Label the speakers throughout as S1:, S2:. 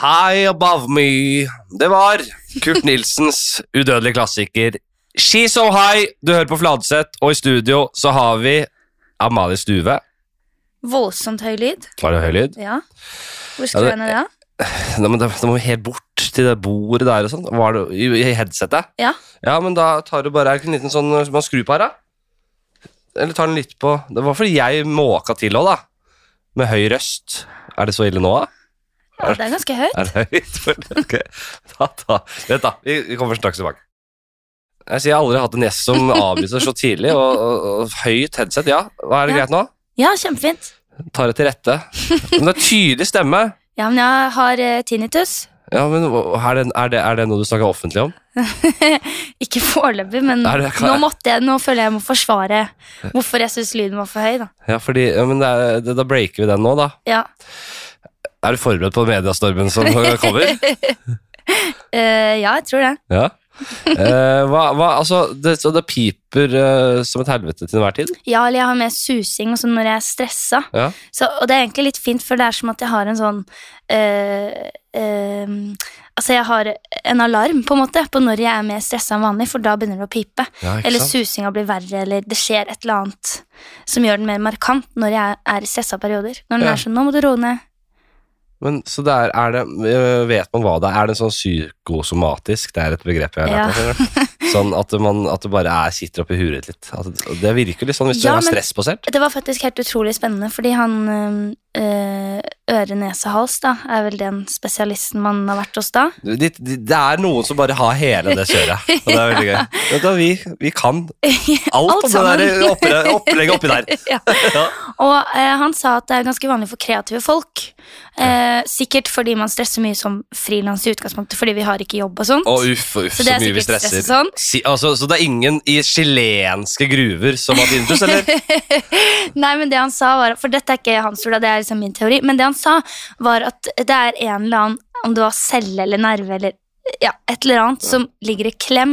S1: High Above Me. Det var Kurt Nilsens udødelige klassiker She's So High. Du hører på Fladseth, og i studio så har vi Amalie Stuve.
S2: Voldsomt høy lyd.
S1: Var det høy lyd?
S2: Ja. Hvor skrur
S1: det-
S2: jeg ned det? da?
S1: Nei, men da, da må vi helt bort til det bordet der og sånn. Var det i, i headsetet?
S2: Ja.
S1: Ja, men da tar du bare er det ikke en liten sånn som man skrur på her, da. Eller tar den litt på Det var fordi jeg måka til òg, da. Med høy røst. Er det så ille nå, da?
S2: Ja, det er ganske høyt.
S1: Er det høyt? Ok. Da, da. Vent, da. Vi vi kommer straks tilbake. Jeg sier jeg har aldri hatt en gjest som avlyser så tidlig. Og, og, og høyt headset, ja. Hva Er det
S2: Ja.
S1: greit nå?
S2: Ja, kjempefint.
S1: Tar det til rette. Men det er tydelig stemme.
S2: Ja, men jeg har eh, tinnitus.
S1: Ja, men hva- er det, er det, er det noe du snakker offentlig om?
S2: Ikke foreløpig, men
S1: Er det-
S2: nå, måtte jeg, nå føler jeg jeg må forsvare hvorfor jeg syns lyden var for høy. Da.
S1: Ja, fordi, ja, men det er, det, Da breaker vi den nå, da.
S2: Ja.
S1: Er du forberedt på mediastormen som kommer?
S2: Eh, ja, jeg tror det.
S1: Ja. Eh, hva, hva, altså, det, så det piper eh, som et helvete til enhver tid?
S2: Ja, eller jeg har mer susing og sånn når jeg er stressa.
S1: Ja.
S2: Så, og det er egentlig litt fint, for det er som at jeg har en sånn eh, eh, Altså, jeg har en alarm på en måte på når jeg er mer stressa enn vanlig, for da begynner det å pipe.
S1: Ja, ikke
S2: Eller
S1: sant?
S2: susinga blir verre, eller det skjer et eller annet som gjør den mer markant når jeg er i stressa perioder. Når den
S1: Ja.
S2: er sånn 'nå må du roe ned'.
S1: Men så det er, er det, øh, vet man hva det er? Er det sånn psykosomatisk? Det er et begrep jeg har lært meg. skjønner du? Sånn at man at det bare er, sitter oppi huet litt. At det, det virker litt sånn hvis du er
S2: Ja, men-
S1: stressbasert.
S2: Det var faktisk helt utrolig spennende, fordi han eh, eh, øre-nese-hals da, er vel den spesialisten man har vært hos da.
S1: Det, det- det er noen som bare har hele det kjøret. Og det er veldig gøy. Vet du, hva, vi, vi kan alt,
S2: Alt
S1: om det der
S2: sammen.
S1: oppre- opplegget oppi der.
S2: Ja.
S1: Ja.
S2: Og eh, han sa at det er ganske vanlig for kreative folk. Eh, sikkert fordi man stresser mye som frilans i utgangspunktet, fordi vi har ikke jobb og sånt.
S1: Og uff og uff,
S2: Så
S1: så,
S2: det er
S1: mye vi
S2: sikkert
S1: stresser.
S2: stresset sånn.
S1: Si, altså, så det er ingen i chilenske gruver som har tinnitus, eller?
S2: Nei, men det han sa var, For dette er ikke hans ord, da, det er liksom min teori. Men det han sa, var at det er en eller annen, om det var celle eller nerve eller ja, et eller annet, som ligger i klem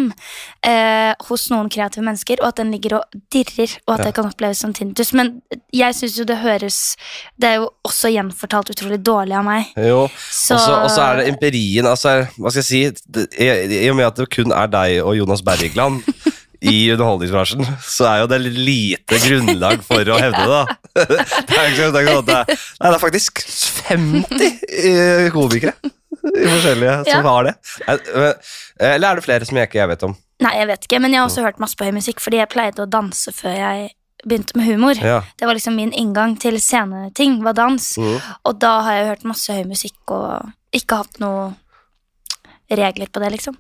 S2: eh, hos noen kreative mennesker, og at den ligger og dirrer, og at det kan oppleves som tinnitus. Men jeg syns jo det høres Det er jo også gjenfortalt utrolig dårlig av meg.
S1: Jo.
S2: Så,
S1: Og så- Og så er det empirien altså, Hva skal jeg si? Det, i, I og med at det kun er deg og Jonas Bergland i underholdningsbransjen, så er jo det litt lite grunnlag for å hevde det, da. Det er, ikke, sånn- det, er ikke sånn at det, er- nei, det er faktisk 50 eh, komikere i forskjellige
S2: Ja.
S1: som har det. Eh, eh, Eller er det flere som jeg ikke jeg vet om?
S2: Nei, jeg vet ikke, men jeg har også hørt masse på høy musikk, fordi jeg pleide å danse før jeg begynte med humor.
S1: Ja.
S2: Det var liksom min inngang til sceneting, var dans.
S1: Mhm.
S2: Og da har jeg jo hørt masse høy musikk og ikke hatt noe regler på det, liksom.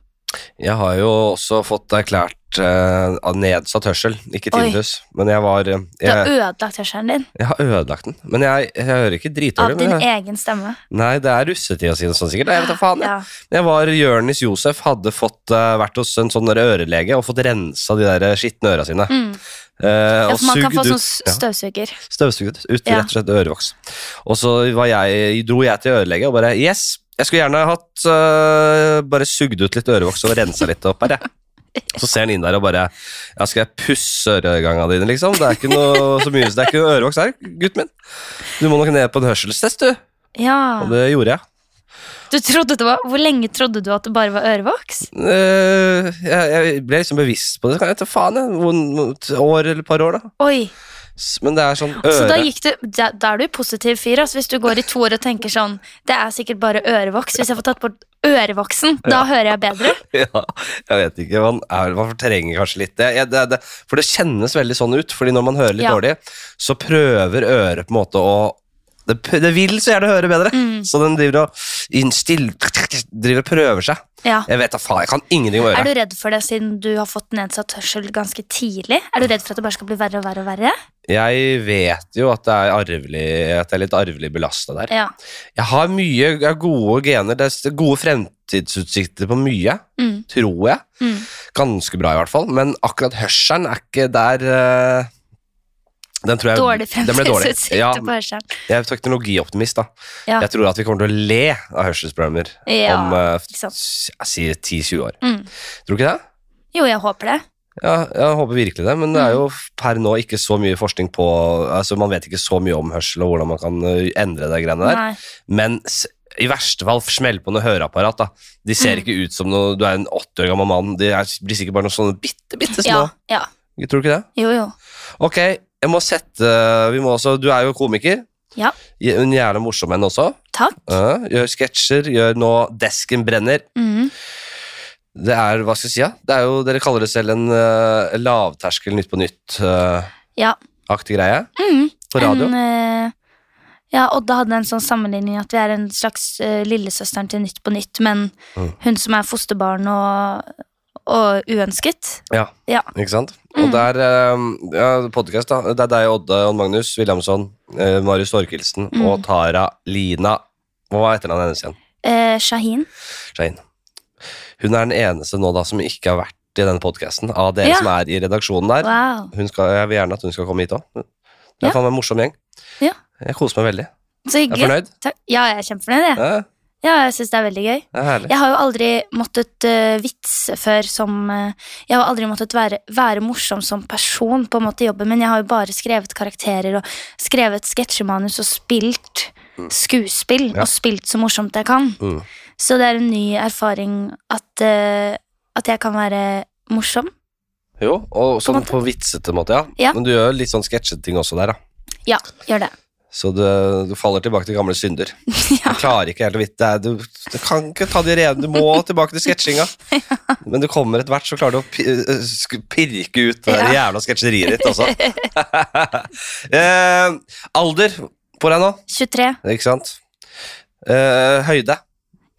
S1: Jeg har jo også fått erklært eh, av nedsatt hørsel, ikke
S2: Oi.
S1: tinnitus, men jeg var eh,
S2: Du har
S1: jeg,
S2: ødelagt hørselen din
S1: jeg har ødelagt den. Men jeg, jeg hører ikke
S2: av
S1: dritdårlig. men
S2: din
S1: jeg-
S2: egen stemme.
S1: Nei, det er russetida si, sånn sikkert. Nei, Jeg vet da faen. jeg.
S2: Ja.
S1: Jeg var Jørnis Josef, hadde fått, eh, vært hos en sånn der ørelege og fått rensa de der skitne øra sine.
S2: Mm.
S1: Eh,
S2: ja,
S1: og
S2: for man kan
S1: sugd
S2: få
S1: ut
S2: sånn s- støvsuger.
S1: støvsugd ut
S2: Ja.
S1: rett og slett ørevoks. Og så var jeg, dro jeg til ørelege og bare Yes, jeg skulle gjerne hatt øh, bare sugd ut litt ørevoks og rensa litt opp her, jeg. Så ser han inn der og bare Ja, skal jeg pusse øreganga dine, liksom? Det er ikke noe så mye, det er ikke noe ørevoks her, gutten min. Du må nok ned på en hørselstest, du.
S2: Ja.
S1: Og det gjorde jeg.
S2: Du trodde det var, hvor lenge trodde du at det bare var ørevoks?
S1: Eh, jeg. Jeg ble liksom bevisst på det. Så kan jeg ta faen, jeg. Hvor- Et år eller et par år, da.
S2: Oi,
S1: S- Men det er sånn
S2: Så Altså, da
S1: øre...
S2: gikk du, da, da er du positiv fyr, altså, hvis du går i to år og tenker sånn Det er sikkert bare ørevoks. Hvis jeg får tatt bort ørevoksen, da hører jeg bedre.
S1: Ja, jeg vet ikke. Man, er, man fortrenger kanskje litt det, jeg, det, det. For det kjennes veldig sånn ut. Fordi når man hører litt
S2: Ja.
S1: dårlig, så prøver øret på en måte å det, p- det vil så gjerne høre bedre,
S2: Mm.
S1: så den driver og innstill, driver og prøver seg.
S2: Ja.
S1: Jeg vet da faen, jeg kan ingenting om
S2: Er
S1: øret.
S2: du redd for det siden du har fått nedsatt hørsel ganske tidlig? Er du redd for at det bare skal bli verre og verre og verre?
S1: Jeg vet jo at det er arvelig, at jeg er litt arvelig belasta der.
S2: Ja.
S1: Jeg har mye jeg har gode gener, det er gode fremtidsutsikter på mye,
S2: Mm.
S1: tror jeg.
S2: Mm.
S1: Ganske bra, i hvert fall. Men akkurat hørselen er ikke der eh, Den tror jeg
S2: Dårlig
S1: den Eh, ble dårlig.
S2: fremtidsutsikter
S1: Ja,
S2: på hørselen.
S1: jeg er teknologioptimist, da.
S2: Ja.
S1: Jeg tror at vi kommer til å le av hørselsproblemer
S2: Ja,
S1: om eh,
S2: ikke sant.
S1: s- jeg sier 10-20 år.
S2: Mm.
S1: Tror du ikke det?
S2: Jo, jeg håper det.
S1: Ja, jeg håper virkelig det, men det er jo
S2: Mm.
S1: per nå ikke så mye forskning på altså Man vet ikke så mye om hørsel og hvordan man kan eh, endre de greiene der.
S2: Nei.
S1: Men s- i verste fall smell på noe høreapparat. da. De
S2: Mm.
S1: ser ikke ut som noe, du er en åtte år gammel mann. De er, blir sikkert bare noen sånne bitte, bitte
S2: Ja,
S1: små.
S2: ja.
S1: Tror du ikke det?
S2: Jo, jo.
S1: Ok, jeg må sette vi må også, Du er jo komiker.
S2: Ja.
S1: Gj- Hun er gjerne morsom en også.
S2: Takk.
S1: Ja, gjør sketsjer, gjør nå 'Desken brenner'.
S2: Mm.
S1: Det er, hva skal jeg si, ja? Det er jo, Dere kaller det selv en eh, lavterskel Nytt på nytt-aktig
S2: Ja.
S1: greie
S2: Mm.
S1: på radio.
S2: En, eh, ja, Odda hadde en sånn sammenligning at vi er en slags eh, lillesøsteren til Nytt på Nytt, men
S1: Mm.
S2: hun som er fosterbarn og, og uønsket.
S1: Ja,
S2: Ja.
S1: ikke sant?
S2: Mm.
S1: Og der, eh, ja, podcast da, det er deg, Odde, Jon Magnus, Williamson, eh, Marius Torkelsen
S2: Mm.
S1: og Tara Lina. Hva er etternavnet hennes igjen?
S2: Eh, Shahin.
S1: Shahin. Hun er den eneste nå da som ikke har vært i denne podcasten av dere
S2: Ja.
S1: som er i redaksjonen der.
S2: Wow.
S1: Hun skal, jeg vil gjerne at hun skal komme hit også. Det
S2: Ja.
S1: er faen meg en morsom gjeng.
S2: Ja.
S1: Jeg koser meg veldig.
S2: Så
S1: Jeg er
S2: hyggelig.
S1: fornøyd.
S2: Takk. Ja, jeg er kjempefornøyd. jeg.
S1: Ja,
S2: Ja, jeg syns det er veldig gøy.
S1: det er herlig.
S2: Jeg har jo aldri måttet eh, vitse før som eh, Jeg har aldri måttet være, være morsom som person på en måte i jobben min. Jeg har jo bare skrevet karakterer og skrevet sketsjemanus og spilt skuespill.
S1: Mm. Ja.
S2: Og spilt så morsomt jeg kan.
S1: Mm.
S2: Så det er en ny erfaring at, eh, at jeg kan være morsom.
S1: Jo, og sånn
S2: måte.
S1: på vitsete måte, ja.
S2: Ja.
S1: Men du gjør litt sånn sketsjete ting også der, da.
S2: Ja, gjør det.
S1: Så du, du faller tilbake til gamle synder.
S2: ja.
S1: Du klarer ikke helt å vite det. er- Du, du kan ikke ta de rene, du må tilbake til sketsjinga. Men du kommer etter hvert, så klarer du å pi- øh, sk- pirke ut det der jævla sketsjeriet ditt, altså. eh, alder på deg nå,
S2: 23,
S1: ikke sant? Eh, høyde.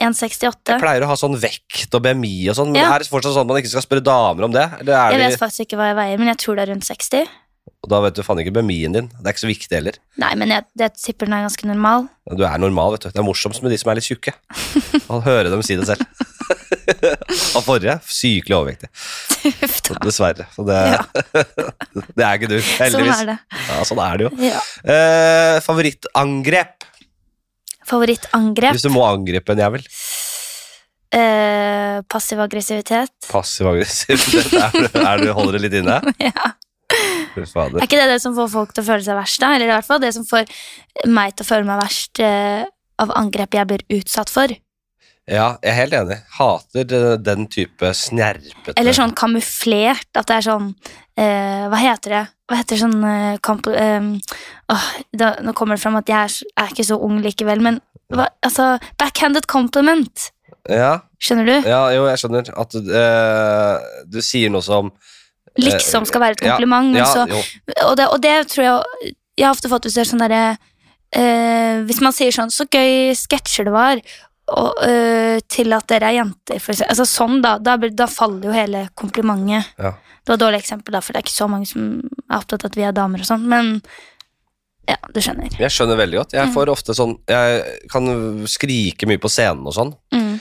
S2: 168.
S1: Pleier å ha sånn vekt og BMI og sånn, men
S2: Ja.
S1: det er fortsatt sånn at man ikke skal spørre damer om det. Eller er
S2: Jeg
S1: det
S2: vet faktisk ikke hva jeg veier, men jeg tror det er rundt 60.
S1: og da vet du faen ikke BMI-en din. Det er ikke så viktig heller.
S2: Nei, men jeg, jeg tipper den er ganske normal.
S1: Du er normal, vet du. Det er morsomst med de som er litt tjukke. Man hører dem si det selv. Og forrige sykelig overvektig.
S2: Uff da.
S1: Dessverre. Så det,
S2: Ja.
S1: det er ikke du,
S2: Sånn
S1: heldigvis.
S2: er det.
S1: Ja, sånn er det jo.
S2: Ja.
S1: Eh, favorittangrep,
S2: Favorittangrep?
S1: hvis du må angripe en jævel.
S2: Eh, passiv aggressivitet?
S1: Passiv aggressiv. Det Er, du- er du holder det litt inne?
S2: Ja.
S1: Fy fader.
S2: Er ikke det det som får folk til å føle seg verst, da? Eller i hvert fall det som får meg til å føle meg verst eh, av angrep jeg blir utsatt for?
S1: Ja, jeg er helt enig. Hater eh, den type snerpete
S2: Eller sånn kamuflert, at det er sånn eh, Hva heter det? Hva heter sånn eh, kamp... Eh, åh, da, nå kommer det fram at jeg er, s- er ikke så ung likevel, men hva, altså Backhanded compliment,
S1: ja,
S2: skjønner du?
S1: ja, jo, jeg skjønner. At eh, du sier noe som
S2: Liksom skal være et
S1: Eh, ja,
S2: kompliment, altså. men
S1: Ja,
S2: så
S1: jo.
S2: og det, og det tror jeg Jeg har ofte fått hvis det er sånn derre eh, Hvis man sier sånn Så gøy sketsjer det var og, eh, til at dere er jenter, for eksempel. Altså, sånn, da, da, blir- da faller jo hele komplimentet.
S1: Ja.
S2: Det var et dårlig eksempel, da, for det er ikke så mange som er opptatt av at vi er damer og sånn, men ja, du skjønner.
S1: Jeg skjønner veldig godt.
S2: Mm.
S1: Jeg får ofte sånn Jeg kan skrike mye på scenen og sånn.
S2: Mm.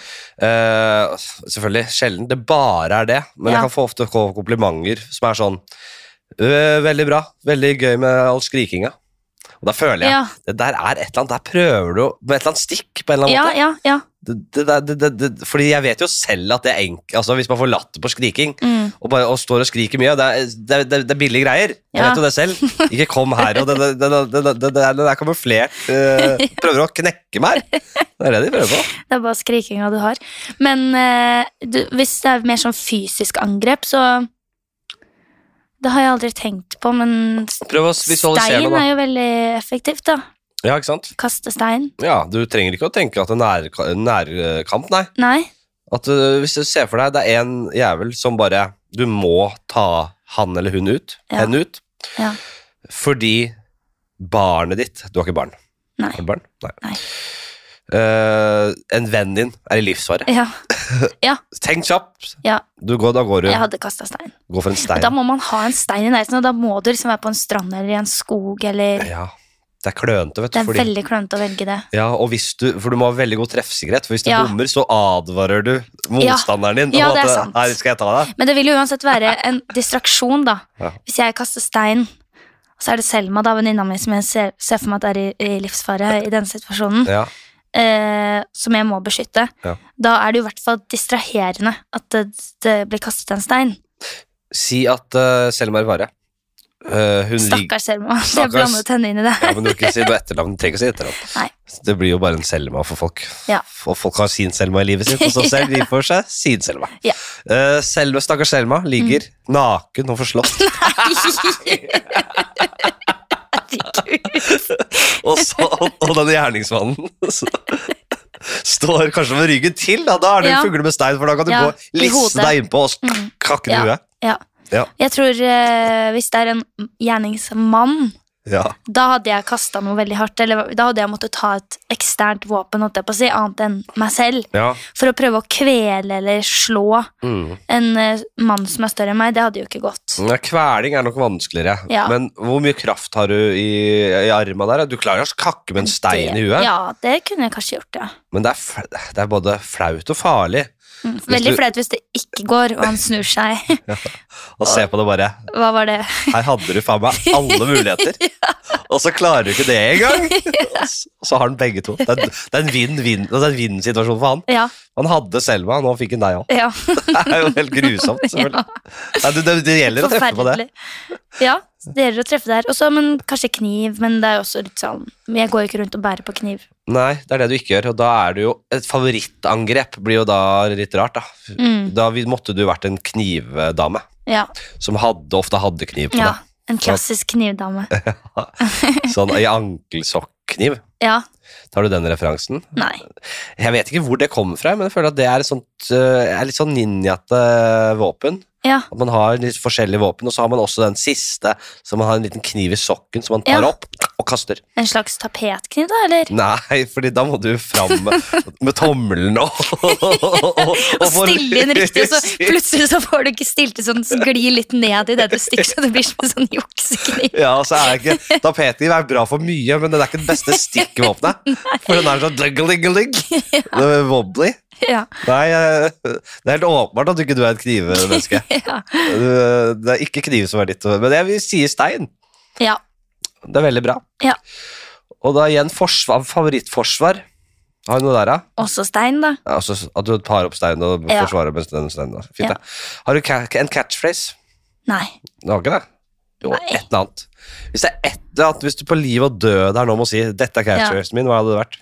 S1: Eh, selvfølgelig sjelden det bare er det, men
S2: Ja.
S1: jeg kan få ofte få komplimenter som er sånn «Øh, Veldig bra. Veldig gøy med all skrikinga. Og da føler jeg
S2: Ja,
S1: Det der er et eller annet Der prøver du å- på et eller annet stikk, på en eller annen
S2: ja,
S1: måte.
S2: ja. ja.
S1: Det, det, der- det, det, det, fordi jeg vet jo selv at det er enk... Altså, hvis man får latter på skriking,
S2: Mm.
S1: og, bare, og står og skriker mye. Det er, det, er- det, er- det er billige greier. Jeg
S2: Ja.
S1: vet jo det selv. Ikke kom her, og den den- den- den- den- den er kamuflert. eh, prøver å knekke meg. Det er det de prøver på.
S2: Det er bare skrikinga du har. Men eh, du, hvis det er mer sånn fysisk angrep, så Det har jeg aldri tenkt på, men
S1: Prøv å visualisere
S2: Stein er
S1: noe, da.
S2: jo veldig effektivt, da.
S1: Ja, ikke sant?
S2: Kaste stein.
S1: Ja, du trenger ikke å tenke at det er nærka- nærkamp, nei.
S2: Nei.
S1: At eh, hvis du ser for deg, det er en jævel som bare Du må ta han eller hun ut.
S2: Ja.
S1: Henne ut.
S2: Ja.
S1: Fordi barnet ditt Du har ikke barn?
S2: Nei.
S1: Har du barn? Nei.
S2: Nei.
S1: Eh, en venn din er i livsfare.
S2: Ja,
S1: Tenk kjapt.
S2: Ja.
S1: Du går, da går du
S2: jeg hadde kasta stein.
S1: går for en
S2: Og da
S1: stein.
S2: må man ha en stein i nærheten, og da må du liksom være på en strand eller i en skog eller
S1: Ja, det er klønete, vet du.
S2: Det er
S1: Fordi,
S2: veldig klønete å velge det.
S1: ja, og hvis du, for du må ha veldig god treffsikkerhet, for hvis du
S2: Ja.
S1: bommer, så advarer du
S2: Ja.
S1: motstanderen din. på
S2: Ja,
S1: en
S2: det er
S1: måte.
S2: sant.
S1: Her skal jeg ta deg.
S2: Men det vil jo uansett være en distraksjon, da.
S1: Ja.
S2: Hvis jeg kaster stein, og så er det Selma, da, venninna mi, som jeg ser, ser for meg at er i, i livsfare i denne situasjonen,
S1: Ja.
S2: eh, som jeg må beskytte,
S1: Ja.
S2: da er det jo i hvert fall distraherende at det, det blir kastet en stein.
S1: Si at uh, Selma er i fare. Eh, hun ligger
S2: Stakkars Selma. Jeg
S1: Stakkars.
S2: blandet henne inn i det.
S1: ja, men du kan ikke si noe etternavn. Du trenger ikke å si etternavn.
S2: Nei.
S1: Det blir jo bare en Selma for folk.
S2: Ja.
S1: Og folk har sin Selma i livet sitt, og så selv de får seg sin Selma.
S2: Ja. Mm.
S1: Eh, selve stakkars Selma ligger naken og forslått, og, så, og denne gjerningsmannen så, står kanskje med ryggen til, da, da er det en
S2: Ja.
S1: fugle med stein, for da kan du
S2: Ja, i
S1: gå lisse
S2: hodet.
S1: deg innpå og
S2: Mm.
S1: kakke den i
S2: Ja.
S1: huet.
S2: Ja.
S1: Ja.
S2: Jeg tror eh, hvis det er en gjerningsmann,
S1: Ja.
S2: da hadde jeg kasta noe veldig hardt. Eller da hadde jeg måttet ta et eksternt våpen, holdt jeg på å si, annet enn meg selv.
S1: ja.
S2: For å prøve å kvele eller slå
S1: Mm.
S2: en eh, mann som er større enn meg, det hadde jo ikke gått.
S1: Ja, Kveling er nok vanskeligere,
S2: Ja.
S1: men hvor mye kraft har du i, i armen der? Du klarer å kakke med en stein i
S2: Det-
S1: huet,
S2: Ja, det kunne jeg kanskje gjort, ja.
S1: men det er, fl- det er både flaut og farlig
S2: Mm. Veldig
S1: du-
S2: flaut hvis det ikke går, og han snur seg.
S1: å se på det bare.
S2: Hva var det?
S1: Her hadde du faen meg alle muligheter, og så klarer du ikke det engang! Og så- Og så har han begge to. Det er, det er en vinn-vinn- det er en vinn-situasjon for han.
S2: Ja.
S1: Han hadde Selma, nå fikk han deg òg.
S2: ja.
S1: Det er jo helt grusomt, selvfølgelig. Nei, det, det, det gjelder å treffe på det.
S2: Forferdelig. Ja, det gjelder å treffe der. Og så, men kanskje kniv, men det er jo også litt sånn Jeg går jo ikke rundt og bærer på kniv.
S1: Nei, det er det du ikke gjør, og da er det jo Et favorittangrep blir jo da litt rart, da.
S2: Mm.
S1: Da vi- måtte du vært en knivdame,
S2: Ja.
S1: som hadde, ofte hadde kniv på
S2: ja.
S1: deg.
S2: En klassisk knivdame.
S1: Sånn i ankelsokkkniv.
S2: Ja.
S1: Tar du den referansen?
S2: Nei.
S1: Jeg vet ikke hvor det kommer fra, men jeg føler at det er et sånt, øh, er litt sånn ninjate våpen.
S2: Ja.
S1: At man har litt forskjellige våpen, og så har man også den siste, så man har en liten kniv i sokken som man tar
S2: Ja.
S1: opp og kaster.
S2: En slags tapetkniv, da, eller?
S1: Nei, fordi da må du fram med, med tommelen og, og, og,
S2: Og stille inn riktig, og så plutselig så får du ikke stilt det sånn, så glir litt ned i det du stikker, så det blir som en sånn juksekniv.
S1: Ja, så er det ikke Tapetkniv er bra for mye, men den er ikke det beste stikkvåpenet. For den er sånn diggeligelig. Wobbly.
S2: Ja.
S1: Nei, eh, det er helt åpenbart at du ikke du er et knivmenneske.
S2: Ja.
S1: Du- Det er ikke kniv som er ditt, men jeg vil si stein.
S2: ja.
S1: Det er veldig bra.
S2: Ja.
S1: Og da igjen forsvar, favorittforsvar. Har du noe der, da?
S2: Også stein, da.
S1: Ja, Altså, at du tar opp steinen og
S2: Ja.
S1: forsvarer med den steinen. da. Fint,
S2: Ja.
S1: da. Har du ca en catchphrase?
S2: Nei.
S1: Du har ikke det? Jo,
S2: Nei.
S1: et eller annet. Hvis det er et eller annet, hvis du på liv og død her nå må si 'dette er catchphrasen min', hva hadde det vært?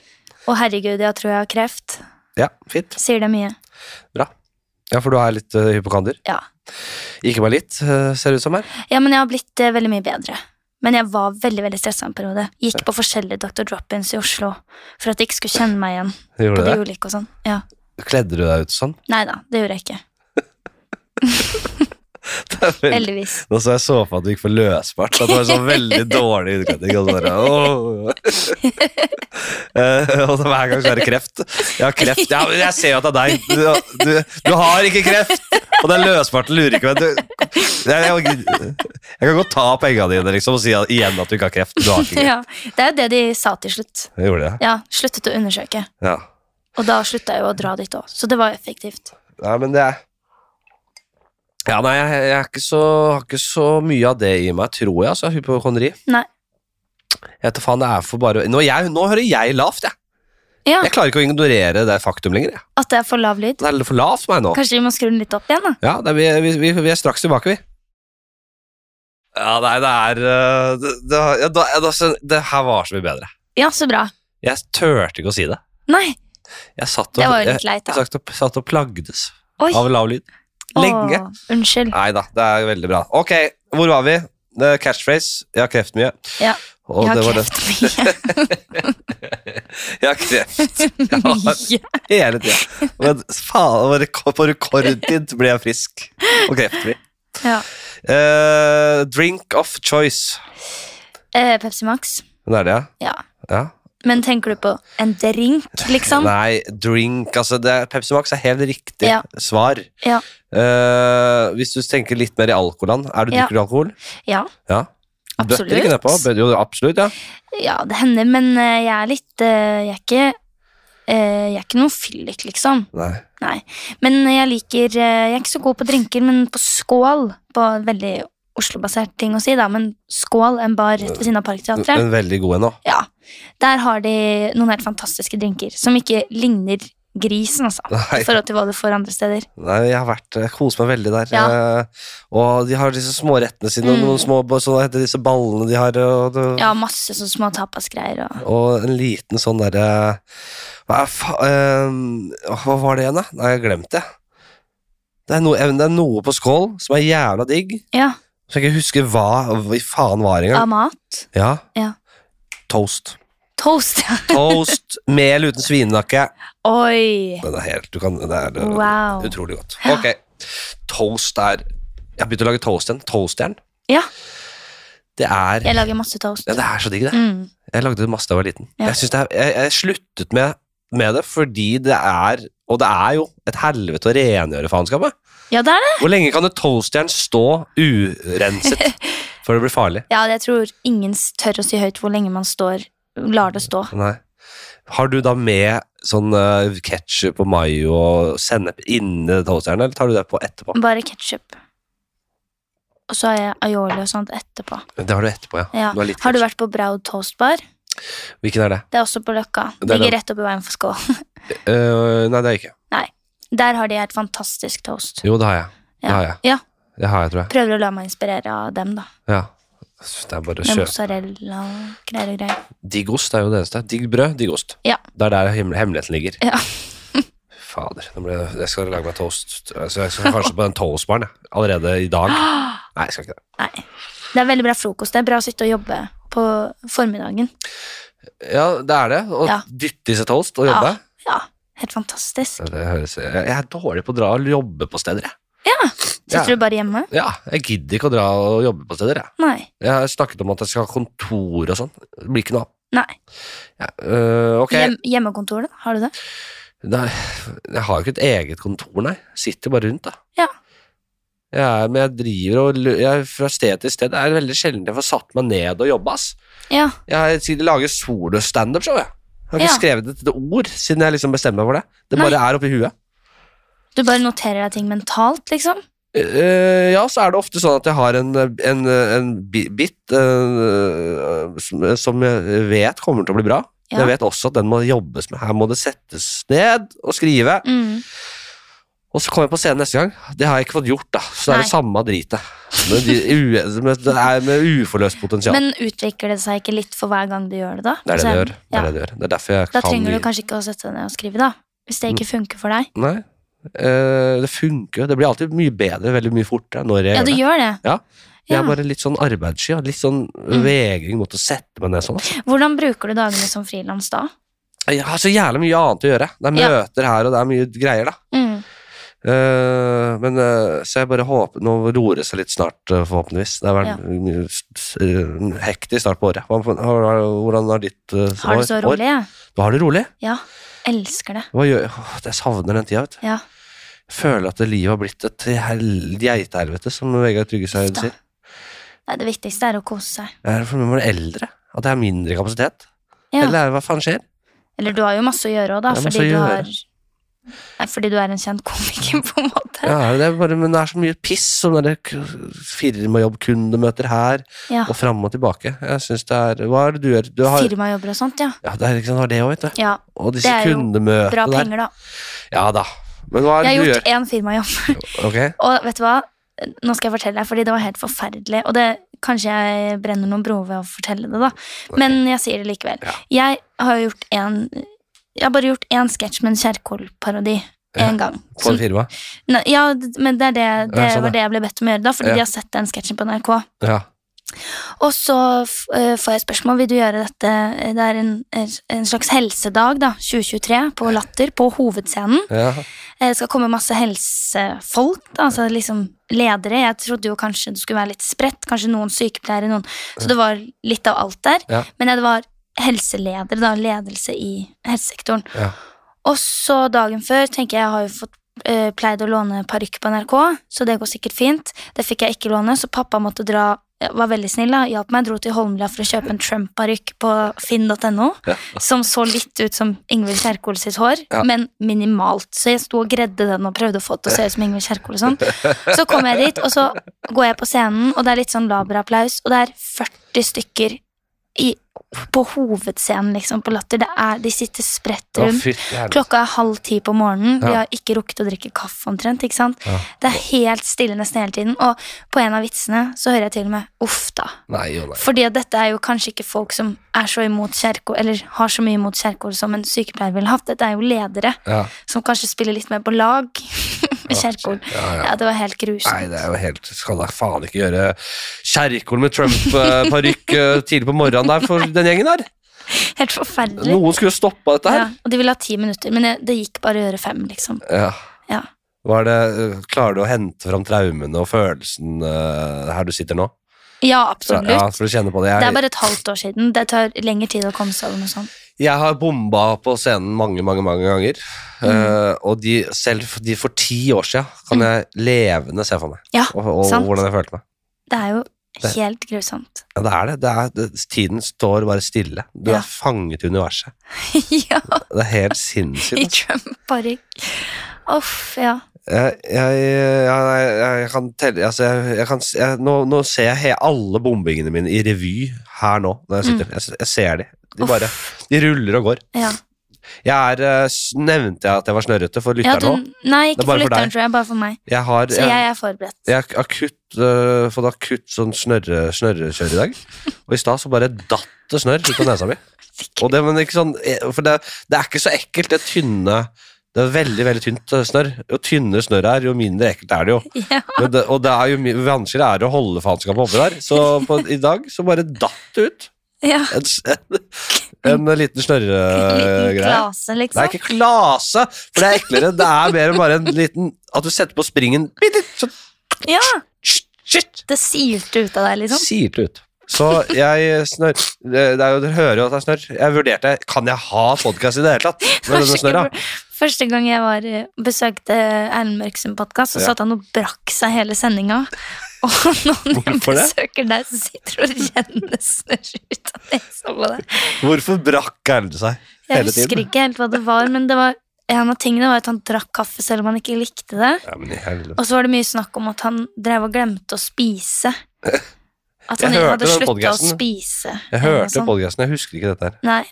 S2: Å herregud, jeg tror jeg har kreft.
S1: Ja, fint.
S2: Sier det mye.
S1: Bra. Ja, for du er litt uh, hypokander.
S2: Ja.
S1: Ikke bare litt, eh, ser det ut som her.
S2: Ja, men jeg har blitt eh, veldig mye bedre. Men jeg var veldig veldig stressa en periode. Gikk på forskjellige Dr. Drop-ins i Oslo for at de ikke skulle kjenne meg igjen.
S1: Gjorde
S2: På
S1: du det?
S2: biolik og sånn. Ja.
S1: Kledde du deg ut sånn?
S2: Nei da, det gjorde jeg ikke.
S1: Det er veldig-
S2: Heldigvis.
S1: Nå så jeg så for meg at du gikk for løsbart. At det var en sånn veldig dårlig utkledning. Og, så bare, «Åh». Eh, og så hver gang så er det kreft. Jeg har kreft. Ja, men jeg ser jo at det er deg. Du, du, du har ikke kreft! Og det er løsbart og lurer ikke meg. Du, jeg, jeg, jeg kan godt ta penga dine liksom, og si at- igjen at du ikke har kreft. Du har ikke kreft.
S2: Ja, Det er jo det de sa til slutt.
S1: Jeg gjorde det.
S2: Ja, Sluttet å undersøke.
S1: Ja.
S2: Og da slutta jeg jo å dra dit òg, så det var effektivt.
S1: Nei, men det er ja, nei, jeg, jeg er ikke så, har ikke så mye av det i meg, tror jeg. altså, Hypokondri.
S2: Nei.
S1: Jeg vet da faen, det er for bare Nå, jeg, nå hører jeg lavt, jeg.
S2: Ja,
S1: Jeg klarer ikke å ignorere det faktum lenger. jeg.
S2: At det er for lav lyd.
S1: Det er litt for lavt for meg nå.
S2: Kanskje vi må skru den litt opp igjen, da.
S1: Ja, det er, vi, vi, vi er straks tilbake, vi. Ja, nei, det er øh, det, det, ja, da, ja, da, så- det her var så mye bedre.
S2: Ja, så bra.
S1: Jeg turte ikke å si det.
S2: Nei,
S1: Jeg satt og,
S2: det var jo
S1: jeg,
S2: litt leit,
S1: jeg
S2: da.
S1: satt og, satt og plagdes
S2: Oi,
S1: av lav lyd. Lenge.
S2: Å, unnskyld.
S1: Nei da, det er veldig bra. Ok, hvor var vi? Det er catchphrase. Jeg har kreft mye.
S2: Ja,
S1: Og
S2: jeg
S1: det
S2: har
S1: var det.
S2: kreft mye.
S1: Jeg har kreft. Jeg har
S2: mye.
S1: hele tida. Men faen, på rekord- på rekordtid ble jeg frisk og kreftfri.
S2: Ja.
S1: Eh, drink of choice.
S2: Eh, Pepsi Max.
S1: Det er det, ja?
S2: Ja.
S1: ja.
S2: Men tenker du på en drink, liksom?
S1: Nei, drink altså det, er- Pepsi Max er helt riktig
S2: Ja.
S1: svar.
S2: Ja.
S1: Eh, hvis du tenker litt mer i alkoholand Er du
S2: Ja.
S1: drikker du alkohol?
S2: Ja,
S1: Ja.
S2: Absolutt.
S1: Bøtter ikke nedpå? Bø- Jo, absolutt, ja.
S2: ja det hender, men eh, jeg er litt eh, Jeg er ikke eh, jeg er ikke noen fyllik, liksom.
S1: Nei.
S2: Nei. Men jeg liker eh, Jeg er ikke så god på drinker, men på skål På veldig Oslo-basert ting å si, da, men skål, en bar rett ved siden av
S1: Eh,
S2: Parkteatret.
S1: Men veldig god ennå.
S2: Ja. Der har de noen helt fantastiske drinker som ikke ligner grisen, altså.
S1: Nei.
S2: I forhold til hva du får andre steder.
S1: Nei, jeg har vært Jeg koser meg veldig der.
S2: Ja.
S1: Eh, og de har disse små rettene sine, og
S2: Mm.
S1: noen små så hva heter disse ballene de har, og, det-
S2: Ja, masse sånne små tapasgreier og
S1: og en liten sånn derre hva, er fa- eh, hva var det igjen, da? Nei, jeg har glemt det. Det er, noe, det er noe på skål som er jævla digg.
S2: Ja,
S1: Så jeg ikke husker hva hva i faen var engang.
S2: av mat.
S1: Ja.
S2: Ja.
S1: Toast.
S2: Toast, ja.
S1: Toast, mel uten svinenakke.
S2: Oi!
S1: Den er helt, du kan, det er det er
S2: Wow.
S1: utrolig godt. Ok, toast er Jeg har begynt å lage toast igjen. Toastjern.
S2: Ja.
S1: Det er
S2: Jeg lager masse toast.
S1: ja, Det er så digg, det.
S2: Mm.
S1: Jeg lagde det masse da jeg var liten.
S2: Ja.
S1: Jeg, synes det er, jeg, jeg sluttet med, med det fordi det er Og det er jo et helvete å rengjøre faenskapet.
S2: Ja, det er det.
S1: Hvor lenge kan et toastjern stå urenset før det blir farlig?
S2: Ja, jeg tror ingen s- tør å si høyt hvor lenge man står, lar det stå.
S1: Nei. Har du da med sånn ketsjup og mayo og sennep inni toastjernet, eller tar du det på etterpå?
S2: Bare ketsjup. Og så har jeg aioli og sånt etterpå.
S1: Det har du etterpå, ja.
S2: Mm. Ja.
S1: Du har litt
S2: Har du
S1: ketchup.
S2: vært på Braud Toastbar?
S1: Hvilken er det?
S2: Det er også på Løkka.
S1: Det er
S2: Ligger
S1: det.
S2: rett oppi veien for Skål.
S1: Eh, nei, det har jeg ikke.
S2: Der har de helt fantastisk toast.
S1: Jo, det har jeg. Det
S2: Ja.
S1: har jeg,
S2: Ja.
S1: det har jeg tror jeg.
S2: Prøver å la meg inspirere av dem, da.
S1: Ja. Det er bare å
S2: Med
S1: kjøpe.
S2: mozzarella og greier og greier.
S1: Digg ost er jo det eneste. Digg brød, digg ost.
S2: Ja.
S1: Det er der hemmel- hemmeligheten ligger.
S2: Ja.
S1: Fader, nå ble, jeg skal lage meg toast. Altså, jeg skal kanskje på den toastbaren jeg. allerede i dag. Nei, jeg skal ikke det.
S2: Nei. Det er veldig bra frokost. Det er bra å sitte og jobbe på formiddagen.
S1: Ja, Ah. det er det. Å
S2: Ja.
S1: dytte i seg toast og jobbe.
S2: Ja, helt fantastisk.
S1: Ja, Det høres, jeg jeg er dårlig på å dra og jobbe på steder, jeg. Ja.
S2: Sitter du bare hjemme?
S1: Ja, jeg gidder ikke å dra og jobbe på steder, jeg.
S2: Nei.
S1: Jeg har snakket om at jeg skal ha kontor og sånn. Det blir ikke noe av.
S2: Nei.
S1: Ja, øh, ok.
S2: Hjem, hjemmekontor, da? Har du det?
S1: Nei, jeg har jo ikke et eget kontor, nei. Sitter bare rundt, da.
S2: Ja.
S1: Jeg er, men jeg driver og lø- jeg, er Fra sted til sted. Det er veldig sjelden jeg får satt meg ned og jobbe, ass.
S2: Ja.
S1: Jeg sitter- lager solostandup, så jeg. Jeg har ikke
S2: Ja.
S1: skrevet et ord siden jeg liksom bestemmer meg for det. Det
S2: Nei.
S1: bare er oppi huet.
S2: Du bare noterer deg ting mentalt, liksom?
S1: Eh, ja, så er det ofte sånn at jeg har en, en, en bi- bit eh, som, som jeg vet kommer til å bli bra.
S2: Ja.
S1: Men jeg vet også at den må jobbes med. Her må det settes ned og skrive.
S2: Mm.
S1: Og så kommer jeg på scenen neste gang. Det har jeg ikke fått gjort, da. Så det er
S2: Nei.
S1: det samme dritet. Men de, u, med, det er med uforløst potensial.
S2: Men utvikler det seg ikke litt for hver gang du gjør det, da?
S1: det er det det
S2: Så-
S1: gjør. Det
S2: ja.
S1: er, det det gjør. Det er derfor jeg
S2: Da
S1: kan Mm.
S2: trenger du kanskje ikke å sette deg ned og skrive, da. Hvis det ikke funker for deg.
S1: Nei. Eh, det funker jo. Det blir alltid mye bedre veldig mye fortere når jeg
S2: Ja, du
S1: gjør det.
S2: gjør det.
S1: Ja. Jeg
S2: Ja. Mm.
S1: er bare litt sånn arbeidssky. og Litt sånn vegring mot å sette meg ned sånn. ass.
S2: Hvordan bruker du dagene som frilans da?
S1: Jeg har så jævlig mye annet å gjøre. Det er
S2: Ja.
S1: møter her, og det er mye greier, da.
S2: Mm.
S1: Eh, men eh, så jeg bare håper Nå roer det seg litt snart, eh, forhåpentligvis. Det har vært
S2: Ja.
S1: mye s- s- eh, hektisk start på året. Hva- hva- hva- Hvordan har ditt eh,
S2: Har du så
S1: år-
S2: rolig? jeg?
S1: Du har det rolig?
S2: Ja. Elsker det.
S1: Hva gjør Åh, Jeg savner den tida, vet du.
S2: Ja.
S1: Jeg Føler at det livet har blitt et hel- geitehelvete, som Vegard Trygge Seid
S2: Da.
S1: sier.
S2: Nei, det viktigste er å kose seg.
S1: Er det for meg eldre? At jeg har mindre kapasitet?
S2: Ja.
S1: Eller er det hva faen skjer?
S2: Eller du har jo masse å gjøre òg, da,
S1: Jeg har masse
S2: fordi
S1: å
S2: du,
S1: gjøre.
S2: har, nei, fordi du er en kjent komiker, på en måte.
S1: Ja, er det det? Bare, men det er så mye piss som der k- firmajobb, kundemøter her,
S2: Ja.
S1: og fram og tilbake. Jeg synes det er Hva er det du gjør? Du har,
S2: Firmajobber og sånt, ja.
S1: ja, det er liksom, du har det òg, vet du.
S2: ja.
S1: Og
S2: Det
S1: disse
S2: er jo Bra
S1: kundemøtene der.
S2: penger, da.
S1: Ja da. Men hva er det
S2: Jeg
S1: du
S2: har
S1: gjør?
S2: gjort én firmajobb,
S1: Ok,
S2: og vet du hva? Nå skal jeg fortelle deg, fordi det var helt forferdelig. Og det, kanskje jeg brenner noen broer ved å fortelle det, da. Men jeg sier det likevel.
S1: Ja.
S2: Jeg har gjort en Jeg har bare gjort én sketsj med en Kjerkol-parodi.
S1: Ja.
S2: En gang.
S1: På
S2: Som-
S1: et firma?
S2: Nei, ja, d- men det, er det, det
S1: sånn, ja.
S2: var det jeg ble bedt om å gjøre da, fordi
S1: Ja.
S2: de har sett den sketsjen på NRK.
S1: Ja.
S2: Og så f- eh, får jeg spørsmål vil du gjøre dette. eh, Det er en, en slags helsedag, da, 2023, på Latter, på hovedscenen.
S1: ja.
S2: Eh, Det skal komme masse helsefolk, da, altså liksom ledere. Jeg trodde jo kanskje det skulle være litt spredt, kanskje noen sykepleiere, noen Så det var litt av alt der.
S1: Ja.
S2: Men det var helseledere, da, ledelse i helsesektoren.
S1: Ja.
S2: Og så dagen før tenker jeg, jeg har jo fått eh, pleid å låne parykk på NRK, så det går sikkert fint. Det fikk jeg ikke låne, så pappa måtte dra eh, var veldig snill da, hjalp meg, dro til Holmlia for å kjøpe en Trump-parykk på finn.no,
S1: Ja.
S2: som så litt ut som Ingvild Kjerkol sitt hår,
S1: Ja.
S2: men minimalt. Så jeg sto og gredde den og prøvde å få det til å se ut som Ingvild Kjerkol og sånn. Så kom jeg dit, og så går jeg på scenen, og det er litt sånn laber applaus, og det er 40 stykker i, på hovedscenen liksom, på Latter. Det er, de sitter spredt
S1: Å,
S2: rundt.
S1: fytti helvete.
S2: Klokka er halv ti på morgenen. Vi
S1: Ja.
S2: har ikke rukket å drikke kaffe omtrent. ikke sant?
S1: Ja.
S2: Det er helt stille nesten hele tiden. Og på en av vitsene så hører jeg til og med 'uff da'.
S1: Nei, jo, nei.
S2: Fordi at dette er jo kanskje ikke folk som er så imot kjerkol, eller har så mye imot kjerkol som en sykepleier ville hatt. Dette er jo ledere
S1: Ja.
S2: som kanskje spiller litt mer på lag med kjerkol.
S1: Ja, ja.
S2: Ja, det var helt grusomt.
S1: Nei, det er jo helt Skal da faen ikke gjøre Kjerkol med Trump-parykk eh, tidlig på morgenen der for den gjengen der.
S2: Helt forferdelig.
S1: Noen skulle jo stoppa dette
S2: Ja,
S1: her.
S2: og de ville ha ti minutter, men det, det gikk bare å gjøre fem, liksom.
S1: Ja.
S2: Ja.
S1: Hva er det, øh, klarer du å hente fram traumene og følelsen øh, her du sitter nå?
S2: Ja,
S1: Fra-
S2: absolutt.
S1: Ja, for å kjenne på det.
S2: Det er
S1: Jeg,
S2: bare et halvt år siden. Det tar lengre tid å komme seg over noe sånt.
S1: jeg har bomba på scenen mange, mange mange ganger.
S2: Mm.
S1: øh, og de, selv f- de for ti år siden kan jeg levende se for meg.
S2: Ja,
S1: Og, og
S2: Mm. sant.
S1: hvordan jeg følte meg.
S2: Det er jo
S1: Det-
S2: helt grusomt.
S1: Ja, det er det. det, er, det tiden står bare stille. Du
S2: Ja.
S1: er fanget i universet.
S2: ja,
S1: Det er helt sinnssykt.
S2: i
S1: altså.
S2: Trump-parykk. Uff, ja.
S1: Jeg, jeg, jeg, jeg, jeg kan telle altså jeg, jeg kan, s- jeg, nå, nå ser jeg he- alle bombingene mine i revy her nå. Når jeg
S2: Mm.
S1: sitter jeg, s- jeg ser de. De, bare, de ruller og går.
S2: Ja.
S1: Jeg er, eh, s- Nevnte jeg at jeg var snørrete for
S2: ja
S1: lytteren
S2: du,
S1: nå?
S2: nei,
S1: Det er bare
S2: ikke for
S1: for
S2: lytteren,
S1: deg.
S2: tror jeg. Bare for meg.
S1: Jeg har
S2: Så
S1: jeg,
S2: jeg er forberedt.
S1: jeg har akutt, eh, fått akutt sånn snørre, snørrekjør i dag. Og i stad så bare datt det snørr ut av nesa mi. Og det, men ikke sånn, eh, for det, det er ikke så ekkelt, det tynne Det er veldig veldig tynt eh, snørr. Jo tynnere snørret er, jo mindre ekkelt er det jo.
S2: Ja.
S1: Men det, og det er jo mye vanskeligere er det å holde faenskapet oppe der. Så på, i dag så bare datt det ut
S2: ja.
S1: en, s- en, en liten Eh,
S2: Liten
S1: snørregreie.
S2: klase,
S1: Nei,
S2: liksom.
S1: ikke klase, for det er eklere. Det er mer enn bare en liten At du setter på springen bitte litt, sånn
S2: Ja,
S1: shit,
S2: Det silte ut av deg, liksom.
S1: silte ut. Så jeg snør det det er jo, Dere hører jo at det er snørr. Jeg vurderte Kan jeg ha podkast i det hele tatt? Med denne snørra?
S2: Første gang jeg var, eh, besøkte Erlend Mørk sin podkast, så
S1: Ja.
S2: satt han og brakk seg hele sendinga. Og når jeg
S1: Hvorfor det?
S2: besøker deg, så sitter du og renner snørr ut av nesa på deg.
S1: Hvorfor brakk Erlend seg
S2: Jeg
S1: hele
S2: husker
S1: tiden?
S2: ikke helt hva det var, men det var, en av tingene var at han drakk kaffe selv om han ikke likte det.
S1: Ja, men i helvete.
S2: Og så var det mye snakk om at han drev og glemte å spise. At
S1: Jeg
S2: han
S1: hørte
S2: hadde
S1: den
S2: slutta å
S1: podcasten.
S2: spise.
S1: Jeg
S2: eller noe
S1: hørte
S2: sånt.
S1: podkasten, jeg husker ikke dette her.
S2: Nei.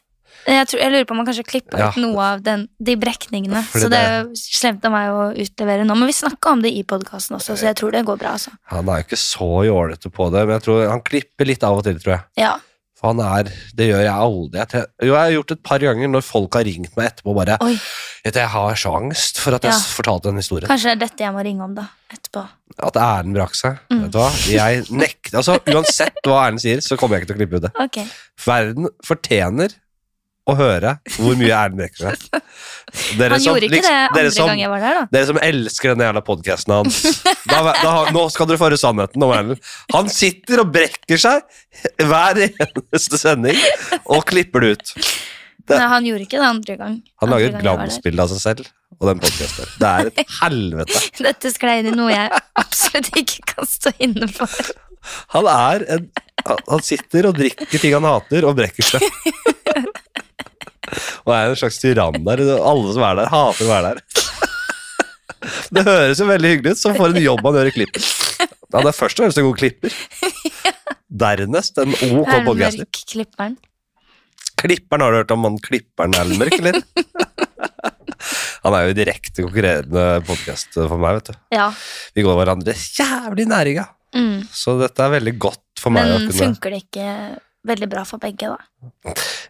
S2: Jeg, tror, jeg lurer på om man kanskje klippa
S1: Ja.
S2: ut noe av den, de brekningene.
S1: Fordi
S2: så det er jo slemt av meg å utlevere nå, men vi snakka om det i podkasten også, så jeg tror det går bra. Altså.
S1: Han er jo ikke så jålete på det, men jeg tror han klipper litt av og til, tror jeg.
S2: Ja.
S1: For han er Det gjør jeg aldri. Jeg, tre- jo, jeg har gjort det et par ganger når folk har ringt meg etterpå og bare
S2: Oi,
S1: Vet du, jeg har så angst for at jeg
S2: Ja.
S1: s- fortalte den historien.
S2: kanskje det er dette jeg må ringe om, da. Etterpå.
S1: At Erlend brakk seg.
S2: Mm.
S1: Vet du hva? Jeg nekter Altså, uansett hva Erlend sier, så kommer jeg ikke til å klippe ut det.
S2: Ok.
S1: Verden fortjener å høre hvor mye Erlend brekker seg. Dere
S2: Han
S1: som
S2: gjorde ikke
S1: liksom-
S2: det andre
S1: dere som,
S2: gang jeg var der, da.
S1: Dere som elsker den jævla podkasten hans. Da, da, nå skal dere få høre sannheten om Erlend. Han sitter og brekker seg hver eneste sending og klipper det ut. det-
S2: Men han gjorde ikke det andre gang.
S1: Han
S2: andre
S1: lager et
S2: gang jeg var der.
S1: glansbilde av seg selv og den podkasten. Det er et helvete.
S2: Dette sklei inn i noe jeg absolutt ikke kan stå inne for.
S1: Han er en han- Han sitter og drikker ting han hater, og brekker seg. Og er en slags tyrann der. Alle som er der, hater å være der. Det høres jo veldig hyggelig ut, så for en jobb han gjør i klippen. Han er først og fremst en god klipper. Dernest en ok
S2: Erlend
S1: podcaster.
S2: Mørk, klipperen.
S1: Klipperen, har du hørt om han klipperen Erlend Mørk, eller? Han er jo direkte konkurrerende podkast for meg, vet du.
S2: Ja.
S1: Vi går hverandre jævlig i næringa.
S2: Mm.
S1: Så dette er veldig godt for meg. å
S2: Men
S1: kunne-
S2: funker det ikke veldig bra for begge, da?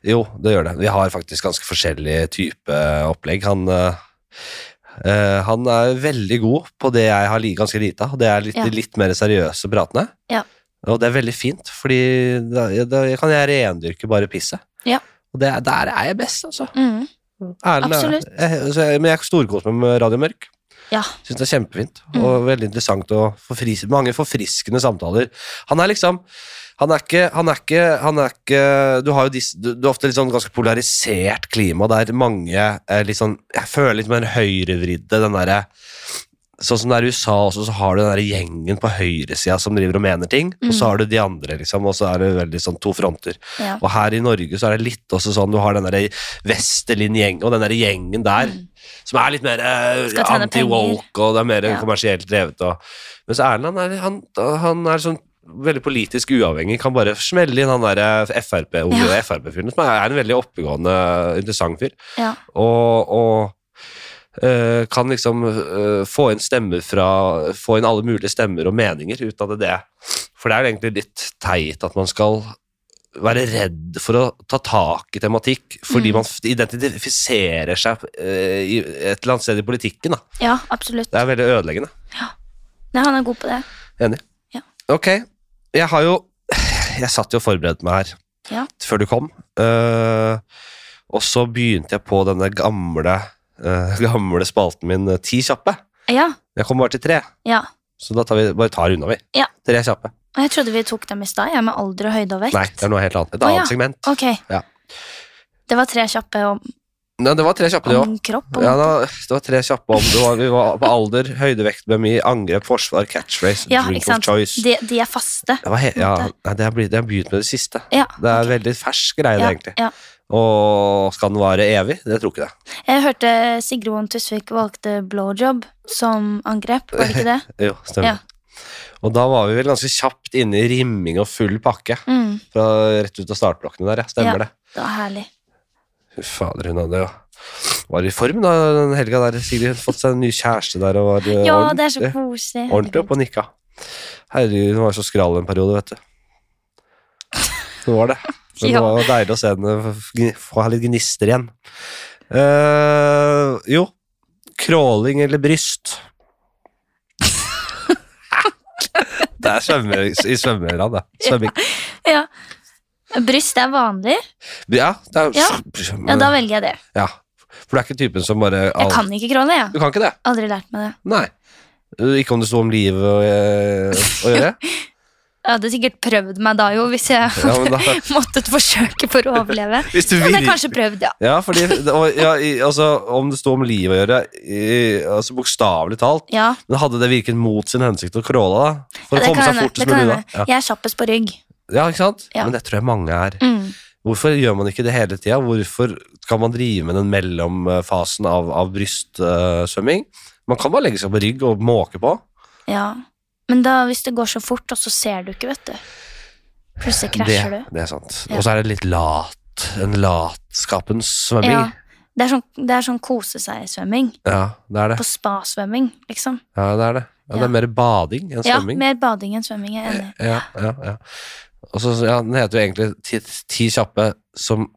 S1: Jo, det gjør det. Vi har faktisk ganske forskjellig type opplegg. Han, eh, eh, han er veldig god på det jeg har li ganske lite av, og det er litt,
S2: Ja.
S1: de litt mer seriøse pratene.
S2: Ja.
S1: Og det er veldig fint, fordi da, da kan jeg rendyrke bare pisset.
S2: Ja.
S1: Og det, er- der er jeg best, altså.
S2: Mm.
S1: Erlend er-
S2: Absolutt.
S1: Jeg, så jeg, men jeg storkoser meg med Radio Mørk.
S2: Ja.
S1: Syns det er kjempefint og veldig interessant og forfris, mange forfriskende samtaler. Han er liksom han er, ikke, han, er ikke, han er ikke Du har jo disse, du, du har ofte litt sånn ganske polarisert klima der mange eh, litt sånn Jeg føler litt mer høyrevridde, den derre Sånn som det er i USA også, så har du den der gjengen på høyresida som driver og mener ting, og så har du de andre, liksom, og så er det veldig sånn to fronter.
S2: Ja.
S1: Og her i Norge så er det litt også sånn, du har den der Vestelin-gjengen, og den der gjengen
S2: Mm.
S1: der, som er litt mer eh,
S2: Skal tjene
S1: anti-woke, og det er mer
S2: Ja.
S1: kommersielt drevet. Og. Mens Erlend, han er, han, han er sånn veldig politisk uavhengig, kan bare smelle inn han der eh, Frp-fyren
S2: Ja.
S1: FRP -fyren, som er en veldig oppegående, interessant fyr.
S2: Ja.
S1: Og, og eh, kan liksom eh, få inn stemmer fra Få inn alle mulige stemmer og meninger ut av det. det. For det er jo egentlig litt teit at man skal være redd for å ta tak i tematikk fordi
S2: Mm.
S1: man identifiserer seg eh, i et eller annet sted i politikken. Da.
S2: ja, absolutt.
S1: Det er veldig ødeleggende.
S2: Nei, han er god på det.
S1: Enig.
S2: Ja.
S1: Ok, jeg har jo Jeg satt jo og forberedte meg her
S2: Ja.
S1: før du kom. Eh, og så begynte jeg på denne gamle, eh, gamle spalten min eh, Ti kjappe.
S2: Ja,
S1: Jeg kom bare til tre,
S2: ja.
S1: så da tar vi, bare tar unna, vi.
S2: Ja.
S1: Tre kjappe.
S2: Og jeg trodde vi tok dem i stad, jeg med alder og høyde og vekt.
S1: Nei, det er noe helt annet. Et
S2: Å, ja.
S1: annet segment.
S2: Ok.
S1: Ja.
S2: Det var tre kjappe om,
S1: Nei, det var tre kjappe, det òg.
S2: om kropp. Og,
S1: Ja, da, det var tre kjappe om det var, Vi var på alder, høydevekt, BMI, angrep, forsvar, catchphrase,
S2: Ja,
S1: drink
S2: ikke
S1: of
S2: sant.
S1: choice.
S2: de, de er faste.
S1: Det, var he ja,
S2: måte.
S1: nei, det, har blitt, det har begynt med det siste.
S2: Ja.
S1: Det er veldig fersk greie, det,
S2: ja,
S1: egentlig.
S2: ja.
S1: Og skal den vare evig? Det tror ikke det.
S2: Jeg hørte Sigrun Tusvik valgte blowjob som angrep, var det ikke det?
S1: Jo, stemmer.
S2: Ja.
S1: Og da var vi vel ganske kjapt inne i rimming og full pakke.
S2: Mm,
S1: Fra rett ut av startblokkene der, ja. Stemmer
S2: Ja.
S1: det.
S2: det var herlig.
S1: Fy fader, hun hadde jo var i form da den helga der. Sigrid hadde fått seg en ny kjæreste der og var eh,
S2: Ja, det er så
S1: ordentlig-
S2: koselig.
S1: ordentlig opp og nikka. Herregud, hun var så skral en periode, vet du. Hun var det. Men
S2: Ja.
S1: det var deilig å se henne f- gni- få ha litt gnister igjen. Eh, jo, crawling eller bryst? det er svømme, i svømmeland, det. Svømming.
S2: Ja. Bryst er vanlig.
S1: Ja, det er,
S2: Ja. Ja, da velger jeg det.
S1: Ja. For du er ikke typen som bare
S2: Jeg kan ikke crawle, jeg.
S1: Du kan ikke det?
S2: Aldri lært meg det.
S1: Nei. Ikke om det sto om livet å eh, å gjøre?
S2: Jeg hadde sikkert prøvd meg da jo, hvis jeg
S1: Ja, men da,
S2: måttet forsøke for å overleve.
S1: hvis du
S2: Jeg hadde jeg
S1: virkelig-
S2: kanskje prøvd, ja.
S1: Ja, fordi og, ja, i, altså, Om det sto om livet å gjøre, i, altså bokstavelig talt
S2: Ja,
S1: Men hadde det virket mot sin hensikt å crawle, da? For
S2: ja,
S1: å komme seg
S2: hende, det
S1: fortest
S2: kan
S1: mulig
S2: hende.
S1: unna? Ja.
S2: Jeg er kjappest på rygg.
S1: ja, ikke sant?
S2: Ja.
S1: Men det tror jeg mange er.
S2: Mm.
S1: Hvorfor gjør man ikke det hele tida? Hvorfor kan man drive med den mellomfasen av, av brystsvømming? Man kan bare legge seg på rygg og måke på.
S2: Ja. Men da, hvis det går så fort, og så ser du ikke, vet du. Plutselig
S1: Det,
S2: krasjer du.
S1: det er sant.
S2: Ja.
S1: Og så er det litt lat. En latskapens svømming.
S2: Ja.
S1: Ja.
S2: Det er sånn, det er sånn kose-seg-svømming.
S1: det er det.
S2: På spasvømming, liksom.
S1: Ja, det er det. Ja, det
S2: Ja.
S1: er mer bading enn
S2: Ja,
S1: svømming.
S2: mer bading enn svømming, jeg er enig.
S1: Ja, ja, ja. Og så, ja, den heter jo egentlig ti, ti kjappe som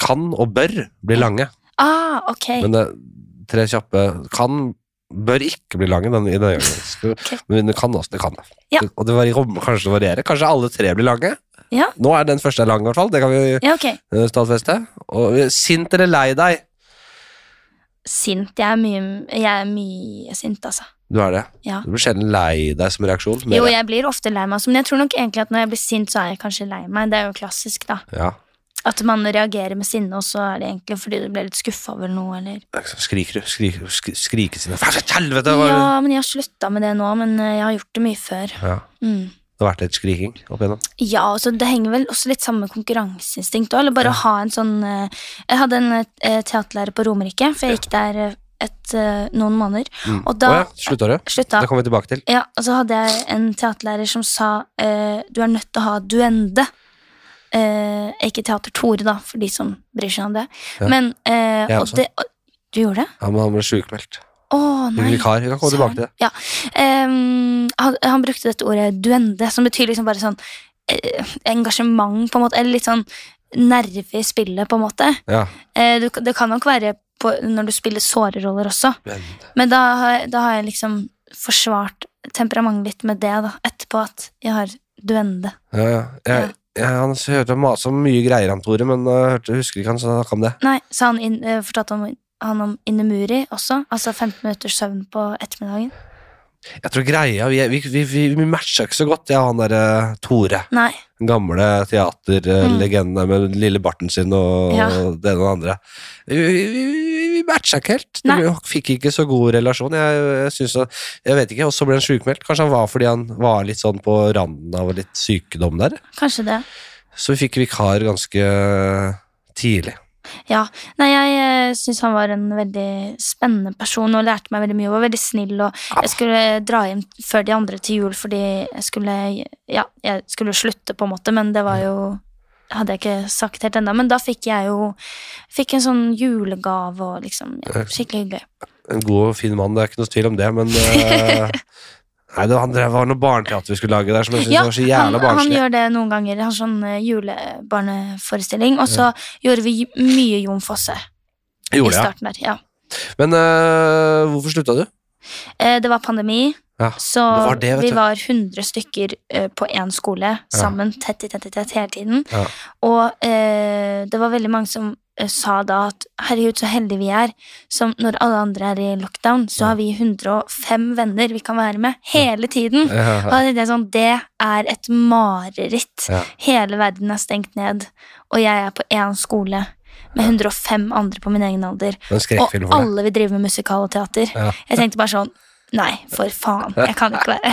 S1: kan og bør bli lange.
S2: Ah, ok.
S1: Men det, tre kjappe kan bør ikke bli lange den, i denne gangen. Men det kan også, det kan det.
S2: Ja.
S1: Og det var, kanskje det varierer. Kanskje alle tre blir lange.
S2: Ja.
S1: Nå er den første lang, i hvert fall. Det kan vi
S2: Ja, ok.
S1: eh, stadfeste. Og eh, sint eller lei deg?
S2: Sint. Jeg er mye, jeg er mye sint, altså.
S1: Du er det.
S2: Ja.
S1: Du blir sjelden lei deg som reaksjon. men-
S2: Jo, jeg blir ofte lei meg, altså, men jeg tror nok egentlig at når jeg blir sint, så er jeg kanskje lei meg. Det er jo klassisk, da.
S1: ja.
S2: At man reagerer med sinne, og så er det egentlig fordi du ble litt skuffa over noe, eller
S1: sånn Skriker du? Skriker, skri- skriker sine Fæ- Helvete! hva er det?
S2: Ja, men jeg har slutta med det nå, men eh, jeg har gjort det mye før.
S1: Ja.
S2: Mm.
S1: Det har vært litt skriking opp igjennom.
S2: Ja, og så Det henger vel også litt sammen med konkurranseinstinkt òg, eller bare å ha en sånn eh, Jeg hadde en eh, teaterlærer på Romerike, for jeg gikk der eh, et, eh, noen måneder,
S1: Mm.
S2: og da
S1: Å ja, slutta du?
S2: slutta
S1: Det kommer vi tilbake til.
S2: Ja, og så hadde jeg en teaterlærer som sa eh, du er nødt til å ha duende. Eh, ikke Teater Tore, da, for de som bryr seg om det.
S1: Ja.
S2: Men eh,
S1: Jeg
S2: og
S1: også.
S2: det, og, Du gjorde det?
S1: Ja, men han ble sjukmeldt.
S2: Å,
S1: Fikk
S2: nei.
S1: vikar. Vi kan komme tilbake til det.
S2: Ja. Em, han, han brukte dette ordet duende, som betyr liksom bare sånn eh, engasjement, på en måte. Eller litt sånn nerve i spillet, på en måte.
S1: Ja.
S2: Eh, du, det kan nok være på, når du spiller såre roller også. Men da, har jeg- da har jeg liksom forsvart temperamentet litt med det da, etterpå at jeg har duende.
S1: Ja, ja. Jeg, jeg, han hørte mase om mye greier om Tore, men jeg hørte, husker ikke han snakka om det.
S2: Nei, så han inn, eh, fortalte han, han om Innemuri også, altså 15 minutters søvn på ettermiddagen.
S1: Jeg tror greia Vi, vi, vi, vi, vi matcha ikke så godt, jeg og han derre Tore.
S2: Nei,
S1: Den gamle teaterlegenden med lille barten sin og
S2: Mm. Ja.
S1: det ene og det andre. Vi, vi, vi, vi matcha ikke helt.
S2: Nei.
S1: Vi fikk ikke så god relasjon. Jeg, jeg, synes at- jeg vet ikke, Og så ble han sjukmeldt. Kanskje han var fordi han var litt sånn på randen av litt sykdom der?
S2: kanskje det.
S1: Så vi fikk vikar ganske tidlig.
S2: Ja. Nei, jeg eh, syns han var en veldig spennende person og lærte meg veldig mye. Og var veldig snill. Og jeg skulle dra hjem før de andre til jul fordi jeg skulle Ja, jeg skulle slutte, på en måte, men det var jo hadde jeg ikke sagt helt ennå, men da fikk jeg jo fikk en sånn julegave og liksom ja, Skikkelig hyggelig.
S1: En god og fin mann, det er ikke noe tvil om det, men eh, Nei, det var, det var noe barneteater vi skulle lage der som jeg syntes
S2: Ja,
S1: var så
S2: han,
S1: jævla
S2: han
S1: barnslig.
S2: gjør det noen ganger. Han har sånn eh, julebarneforestilling. Og så gjorde vi j- mye Jon Fosse i
S1: Gjorde jeg.
S2: starten der. Ja.
S1: Men eh, hvorfor slutta du?
S2: Eh, Det var pandemi,
S1: Ja,
S2: så
S1: det var det, vet
S2: vi
S1: du.
S2: var 100 stykker eh, på én skole sammen, tett i tett i tett hele tiden.
S1: Ja.
S2: Og eh, det var veldig mange som eh, sa da at herregud, så heldige vi er, som når alle andre er i lockdown, så har vi 105 venner vi kan være med hele tiden. Og da tenkte jeg sånn, det er et mareritt.
S1: Ja.
S2: Hele verden er stengt ned, og jeg er på én skole med 105 andre på min egen alder.
S1: Det er en
S2: Og
S1: skrekkfilm for deg.
S2: alle vil drive med musikal og teater.
S1: Ja.
S2: Jeg tenkte bare sånn Nei, for faen. Jeg kan ikke være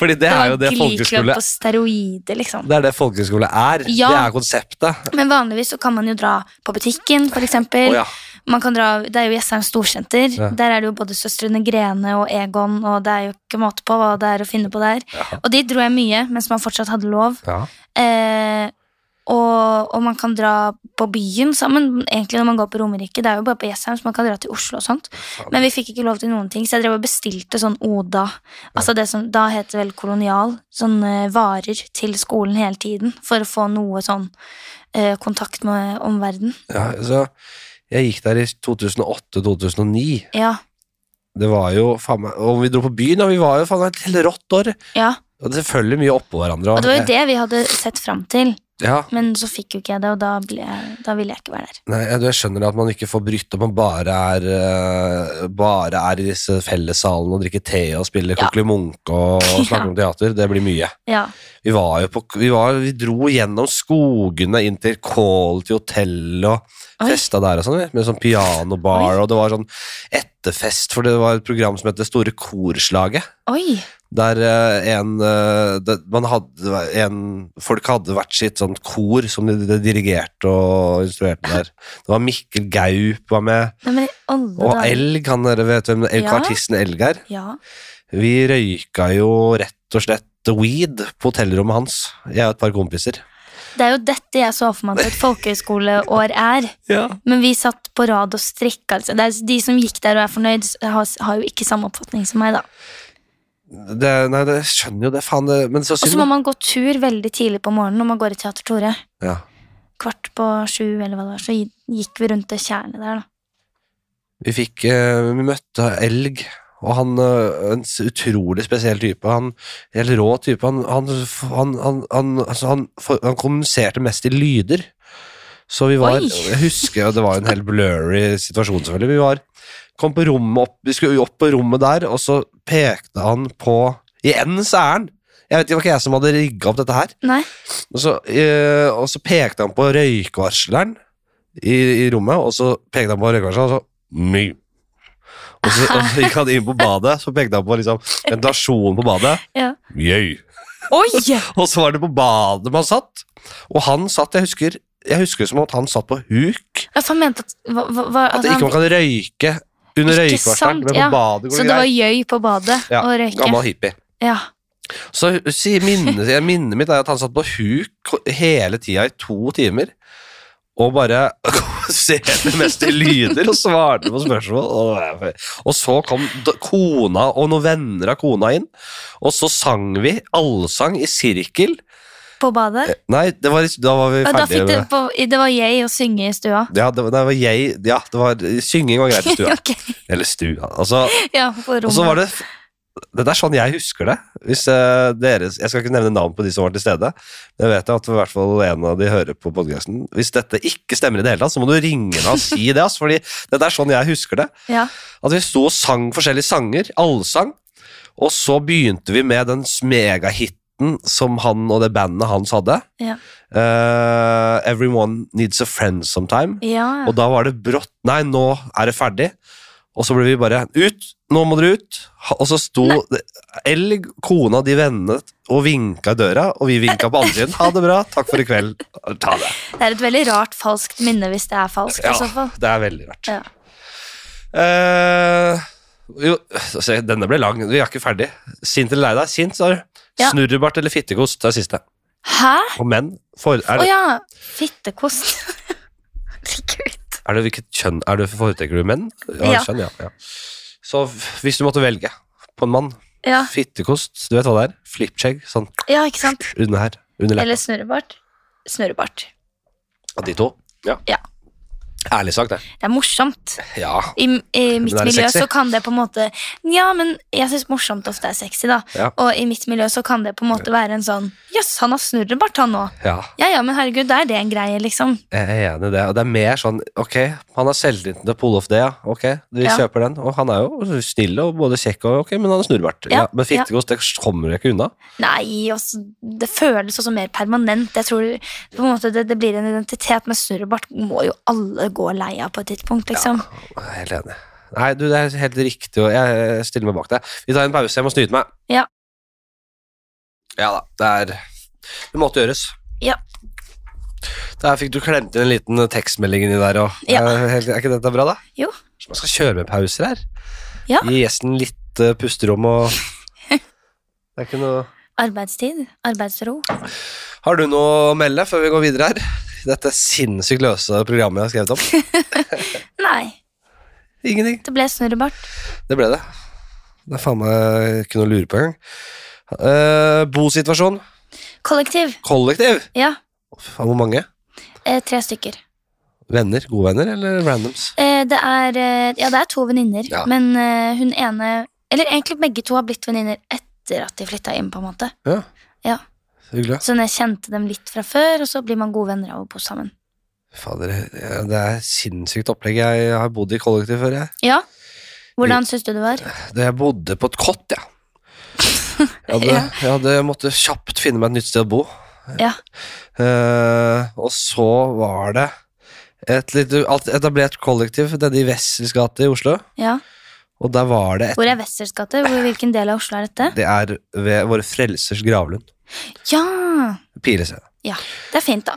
S1: Fordi det er jo det
S2: var
S1: folkehøyskole
S2: på steroider, liksom.
S1: det er. det folkehøyskole er.
S2: Ja.
S1: Det er konseptet.
S2: Men vanligvis så kan man jo dra på butikken, for
S1: Å
S2: eksempel.
S1: ja.
S2: Man kan dra, det er jo Jessheim Storsenter.
S1: Ja.
S2: Der er det jo både søstrene Grene og Egon, og det er jo ikke måte på hva det er å finne på der.
S1: Ja.
S2: Og dit dro jeg mye mens man fortsatt hadde lov.
S1: ja.
S2: Eh, og, og man kan dra på byen sammen, egentlig når man går på Romerike. Det er jo bare på Jessheim, så man kan dra til Oslo og sånt. Men vi fikk ikke lov til noen ting, så jeg drev og bestilte sånn Oda. Altså det som da het vel kolonial. Sånne varer til skolen hele tiden for å få noe sånn eh, kontakt med omverdenen.
S1: Ja, så jeg gikk der i 2008-2009.
S2: Ja,
S1: Det var jo faen meg Og vi dro på byen, og vi var jo faen meg et helt rått år.
S2: ja.
S1: Og selvfølgelig mye oppå hverandre.
S2: Og det var jo det vi hadde sett fram til,
S1: Ja,
S2: men så fikk jo ikke jeg det, og da, ble jeg, da ville jeg ikke være der.
S1: Nei, jeg, jeg skjønner at man ikke får bryte om man bare er, eh, bare er i disse fellessalene og drikker te og spiller
S2: Ja.
S1: Kokkeli Munch og, og snakker om teater. Det blir mye.
S2: Ja,
S1: Vi var jo på Vi, var, vi dro gjennom skogene inn til Call til hotellet og
S2: Oi.
S1: festa der og sånn, vi, med sånn pianobar, og det var sånn etterfest, for det var et program som het Det store korslaget.
S2: Oi!
S1: Der eh, en, eh, det, man hadde, en Folk hadde hvert sitt sånt kor som de, de dirigerte og instruerte der. Det var Mikkel Gaup var med,
S2: Nei, men i alle
S1: og
S2: dager.
S1: Elg, han der, vet du hvem Elg,
S2: Ja.
S1: artisten Elg er?
S2: Ja.
S1: Vi røyka jo rett og slett weed på hotellrommet hans, jeg og et par kompiser.
S2: Det er jo dette jeg så for meg at et folkehøyskoleår er. Men vi satt på rad og strikka. Altså. Det er de som gikk der og er fornøyd, s- har, har jo ikke samme oppfatning som meg. da.
S1: Det, nei, det skjønner jo det, faen. Det, men så
S2: Og så må
S1: synd.
S2: man gå tur veldig tidlig på morgenen når man går i Teater Tore.
S1: Ja.
S2: Kvart på sju, eller hva det var, så gi- gikk vi rundt det tjernet der. da.
S1: Vi fikk eh, Vi møtte elg, og han eh, En s- utrolig spesiell type. Han Helt rå type. Han, han, han, han, han, altså han, for, han kommuniserte mest i lyder. Så vi var
S2: Oi.
S1: Jeg husker og Det var en helt blurry situasjon, selvfølgelig. Vi var kom på rommet opp Vi skulle jo opp på rommet der, og så pekte han på I endens ærend! Jeg vet ikke, Det var ikke jeg som hadde rigga opp dette her.
S2: Nei,
S1: Og så, eh, og så pekte han på røykvarsleren i, i rommet, og så pekte han på røykvarsleren, og så My. Og så, og så gikk han inn på badet, så pekte han på liksom, ventilasjonen på badet.
S2: ja.
S1: Mjau.
S2: Oi!
S1: Og så var det på badet man satt, og han satt, jeg husker, jeg husker som at han satt på huk.
S2: Ja, for han mente at, hva, hva, hva-
S1: At det ikke man kan røyke under
S2: Ikke
S1: røykvarsleren,
S2: sant,
S1: men på
S2: ja.
S1: badet går
S2: Så det
S1: det
S2: var
S1: greit.
S2: gjøy på badet
S1: Ja,
S2: og røyke.
S1: Gammel hippie.
S2: Ja.
S1: Så sier minnet, jeg- minnet mitt er at han satt på huk hele tida i to timer og bare ser det meste i lyder og svarte på spørsmål. Og- Og så kom d- kona og noen venner av kona inn, og så sang vi allsang i sirkel.
S2: På badet.
S1: Nei, det var, da var vi
S2: Ja, da
S1: ferdige
S2: fikk det,
S1: med
S2: på, det var jeg å synge i stua.
S1: ja, det var, nei, det var jeg, ja, det var synging var greit i stua.
S2: Ok,
S1: Eller stua. Altså,
S2: ja, på
S1: Og så var
S2: rommet.
S1: det Det er sånn jeg husker det. Hvis eh, dere, jeg skal ikke nevne navn på de som var til stede. men Jeg vet at i hvert fall en av de hører på podcasten. Hvis dette ikke stemmer i det hele tatt, så må du ringe meg og si det. Ass, fordi dette er sånn jeg husker det.
S2: Ja.
S1: At vi sto og sang forskjellige sanger. Allsang. Og så begynte vi med den megahiten som han og det bandet hans hadde.
S2: Ja.
S1: Eh, 'Everyone Needs a Friend Sometime'.
S2: Ja, ja.
S1: Og da var det brått Nei, nå er det ferdig. Og så ble vi bare Ut! Nå må dere ut! Ha- Og så sto elg, kona, de vennene og vinka i døra, og vi vinka på andre siden. Ha det bra, takk for i kveld. Ta det.
S2: Det er et veldig rart falskt minne hvis det er falskt.
S1: Ja,
S2: i så fall.
S1: det er veldig rart.
S2: Ja.
S1: Eh, jo, se, denne ble lang. Vi er ikke ferdig. Sint eller lei deg? Sint, sa du.
S2: Ja.
S1: Snurrebart eller fittekost? Det er siste.
S2: Hæ?
S1: Og menn? For,
S2: Å
S1: er, det,
S2: ja! Fittekost. Herregud.
S1: er det hvilket kjønn er det foretrekker du menn? Ja,
S2: Ja.
S1: Kjønn, ja, ja. Så f- hvis du måtte velge på en mann
S2: Ja.
S1: Fittekost, du vet hva det er? Flipskjegg, sånn
S2: ja, ikke sant?
S1: under her. Under leppa.
S2: Eller snurrebart. Snurrebart.
S1: Av De to?
S2: Ja.
S1: Ærlig sagt, det.
S2: Det er morsomt.
S1: Ja.
S2: I, i
S1: Men er
S2: mitt
S1: det
S2: miljø
S1: sexy?
S2: så kan det på en måte Ja, men jeg syns morsomt ofte er sexy, da.
S1: Ja.
S2: Og i mitt miljø så kan det på en måte være en sånn Jøss, han har snurrebart, han nå.
S1: ja.
S2: Ja ja, men herregud, da er det en greie, liksom.
S1: Jeg er enig i det. Og det er mer sånn Ok, han har selvtilliten til å pulle off det, ja. Ok, vi
S2: Ja.
S1: kjøper den. Og han er jo snill og både kjekk og ok, men han er snurrebart.
S2: Ja,
S1: Ja, men fittekost, det kommer du ikke unna.
S2: Nei, og så- det føles også mer permanent. Jeg tror på en måte det, det blir en identitet, men snurrebart må jo alle gå lei av på et tidspunkt, liksom.
S1: Jeg er helt enig. Nei, du, det er helt riktig, og jeg stiller meg bak deg. Vi tar en pause, jeg må snyte meg.
S2: Ja.
S1: Ja da, det er Det måtte gjøres.
S2: Ja.
S1: Der fikk du klemt inn en liten tekstmelding inni der òg.
S2: Ja.
S1: Er ikke dette bra, da?
S2: Jo.
S1: Så man skal kjøre med pauser her.
S2: Ja.
S1: Gi gjesten litt eh, pusterom og Det er ikke noe
S2: Arbeidstid, arbeidsro.
S1: Har du noe å melde før vi går videre her? Dette sinnssykt løse programmet jeg har skrevet om.
S2: Nei,
S1: Ingenting.
S2: det ble snurrebart.
S1: Det ble det. Det er faen meg ikke noe å lure på engang. Eh, bosituasjon.
S2: Kollektiv,
S1: Kollektiv.
S2: ja.
S1: Faen, hvor mange?
S2: Eh, tre stykker.
S1: Venner? Gode venner eller randoms?
S2: Eh, det er, eh, ja, det er to venninner,
S1: Ja.
S2: men eh, hun ene Eller egentlig begge to har blitt venninner etter at de flytta inn, på en måte.
S1: Ja.
S2: Ja.
S1: Hyggelig.
S2: Sånn jeg kjente dem litt fra før, og så blir man gode venner av å bo sammen.
S1: Fader, eh, det er sinnssykt opplegg. Jeg har bodd i kollektiv før, jeg.
S2: Ja. Hvordan syns du det var?
S1: Da jeg bodde på et kott, ja. Jeg hadde,
S2: Ja.
S1: jeg hadde måtte kjapt finne meg et nytt sted å bo.
S2: Ja.
S1: Eh, og så var det et litt alt- etablert kollektiv nede i Wessels gate i Oslo.
S2: Ja.
S1: Og der var det et
S2: Hvor er Wessels gate? Hvor- Hvilken del av Oslo er dette?
S1: Det er ved Våre Frelsers gravlund.
S2: Ja!
S1: Pilescene.
S2: Det er fint, da.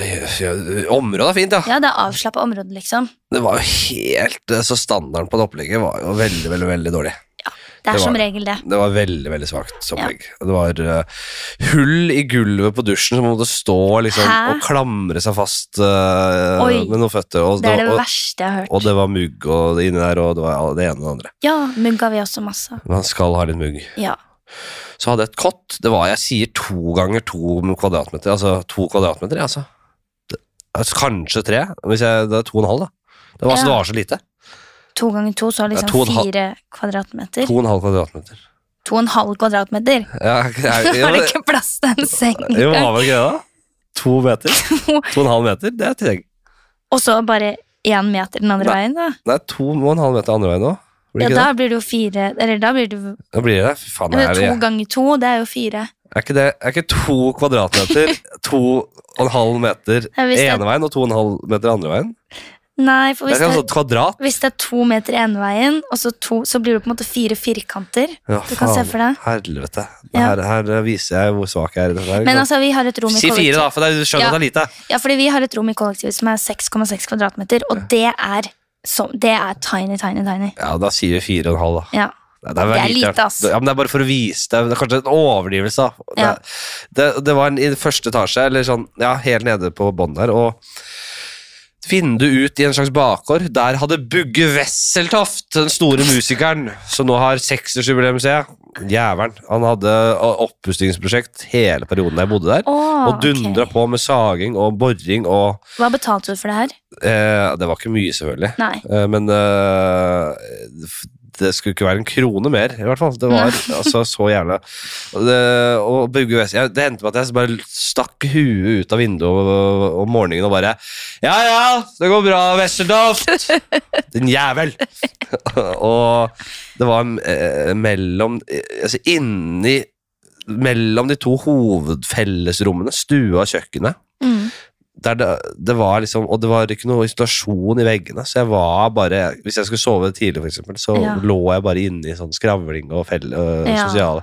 S1: Området er fint, ja.
S2: Ja, Det er avslappa område, liksom.
S1: Det var jo helt eh, Så standarden på det opplegget var jo veldig, veldig, veldig dårlig.
S2: Det er
S1: Det var
S2: som
S1: det.
S2: regel det.
S1: Det var veldig, veldig svakt opplegg. Det var eh, hull i gulvet på dusjen, så man måtte stå liksom,
S2: Hæ?
S1: og klamre seg fast eh,
S2: Oi.
S1: med noen føtter. Og
S2: Det er det
S1: og,
S2: verste jeg har hørt.
S1: og det var mugg og det inni der, og det var det ene og det andre.
S2: Ja, mugg har vi også masse av.
S1: Man skal ha litt mugg.
S2: Ja.
S1: Så hadde jeg et kott. Det var, jeg sier, to ganger to kvadratmeter. Altså to kvadratmeter, jeg, altså. Det- altså. Kanskje tre. Hvis jeg, det er to og en halv, da. Det var, altså, det
S2: Ja.
S1: var så lite.
S2: To ganger to, så
S1: Det er to og
S2: liksom
S1: en halv-
S2: fire kvadratmeter.
S1: To og en halv kvadratmeter.
S2: To og en halv kvadratmeter!
S1: Ja, jeg,
S2: Da
S1: jo,
S2: var det ikke plass til en seng
S1: jo,
S2: engang.
S1: var vel ikke det, da? To meter? To og en halv meter? Det er tillegg.
S2: Og så bare én meter den andre
S1: Nei.
S2: veien, da.
S1: Nei, to og en halv meter andre veien òg.
S2: Ja,
S1: Blir ikke
S2: da
S1: det?
S2: blir det jo fire Eller da blir det jo
S1: Da blir det Fy faen,
S2: eller
S1: er,
S2: To
S1: det,
S2: ganger to, det er jo fire.
S1: er, ikke det, er ikke to kvadratmeter to og en halv meter
S2: Ja, hvis det-
S1: ene veien og to og en halv meter andre veien?
S2: Nei, for
S1: Det
S2: hvis
S1: er ikke
S2: det,
S1: sånn kvadrat.
S2: hvis det er to meter ene veien, og så to, så blir det på en måte fire firkanter.
S1: Ja,
S2: Du kan se for deg.
S1: Helvete. Det
S2: Ja.
S1: Her, her viser jeg hvor svak jeg er. i dette her, ikke
S2: Men
S1: sant?
S2: altså, vi har et rom i
S1: si fire,
S2: kollektivet
S1: da, for det er- du skjønner
S2: Ja.
S1: at det er lite.
S2: Ja, fordi vi har et rom i kollektivet som er 6,6 kvadratmeter, og det er, så, det er tiny, tiny, tiny.
S1: Ja, da sier vi fire og en halv, da.
S2: Ja.
S1: Nei, Det er,
S2: Det er
S1: veldig
S2: lite, ass.
S1: Ja, men det er bare for å vise deg. Det er kanskje en overdrivelse, da.
S2: Ja.
S1: Det, det, det var en, i første etasje, eller sånn, ja, helt nede på bånn der, og vindu ut i en slags bakgård. Der hadde Bugge Wesseltoft, den store musikeren, som nå har 60-årsjubileum, ser jeg. Jævelen. Han hadde oppustingsprosjekt hele perioden jeg bodde der.
S2: Åh,
S1: Og dundra
S2: ok.
S1: på med saging og boring og
S2: Hva betalte du for det her?
S1: eh, Det var ikke mye, selvfølgelig.
S2: Nei.
S1: Eh, Men eh, f- det skulle ikke være en krone mer, i hvert fall. Det var altså så jævla Og det, og Bugge West, jeg, det endte med at jeg bare stakk huet ut av vinduet om morgenen og bare Ja, ja, det går bra, Westerdoft! Din jævel! og det var eh, mellom eh, Altså inni mellom de to hovedfellesrommene, stua og kjøkkenet,
S2: Mm.
S1: der det, det var liksom, og det var ikke noe isolasjon i veggene, så jeg var bare Hvis jeg skulle sove tidlig, for eksempel, så
S2: Ja.
S1: lå jeg bare inne i sånn skravling og fell, øh,
S2: Ja.
S1: sosiale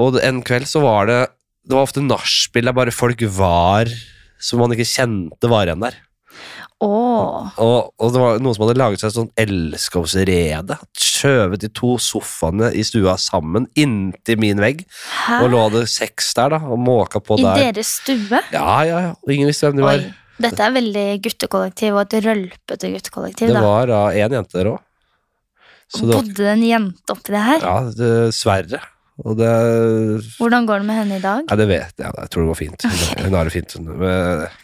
S1: Og en kveld så var det Det var ofte nachspiel der bare folk var som man ikke kjente var igjen der.
S2: Åh.
S1: Og, og det var noen som hadde laget seg et sånt elskovsrede. Skjøvet de to sofaene i stua sammen inntil min vegg.
S2: Hæ?
S1: Og lå det seks der, da, og måka på
S2: I
S1: der.
S2: deres stue?
S1: Ja, ja, ja. Og ingen visste hvem de
S2: Oi.
S1: var.
S2: Dette er veldig guttekollektiv, og et rølpete guttekollektiv.
S1: Det
S2: da.
S1: var da én jente der òg. Så det var
S2: Bodde det en jente oppi det her?
S1: Ja, dessverre. Og det
S2: Hvordan går det med henne i dag?
S1: Nei, det vet jeg. Jeg tror det går fint. Hun har det fint. hun. Men eh,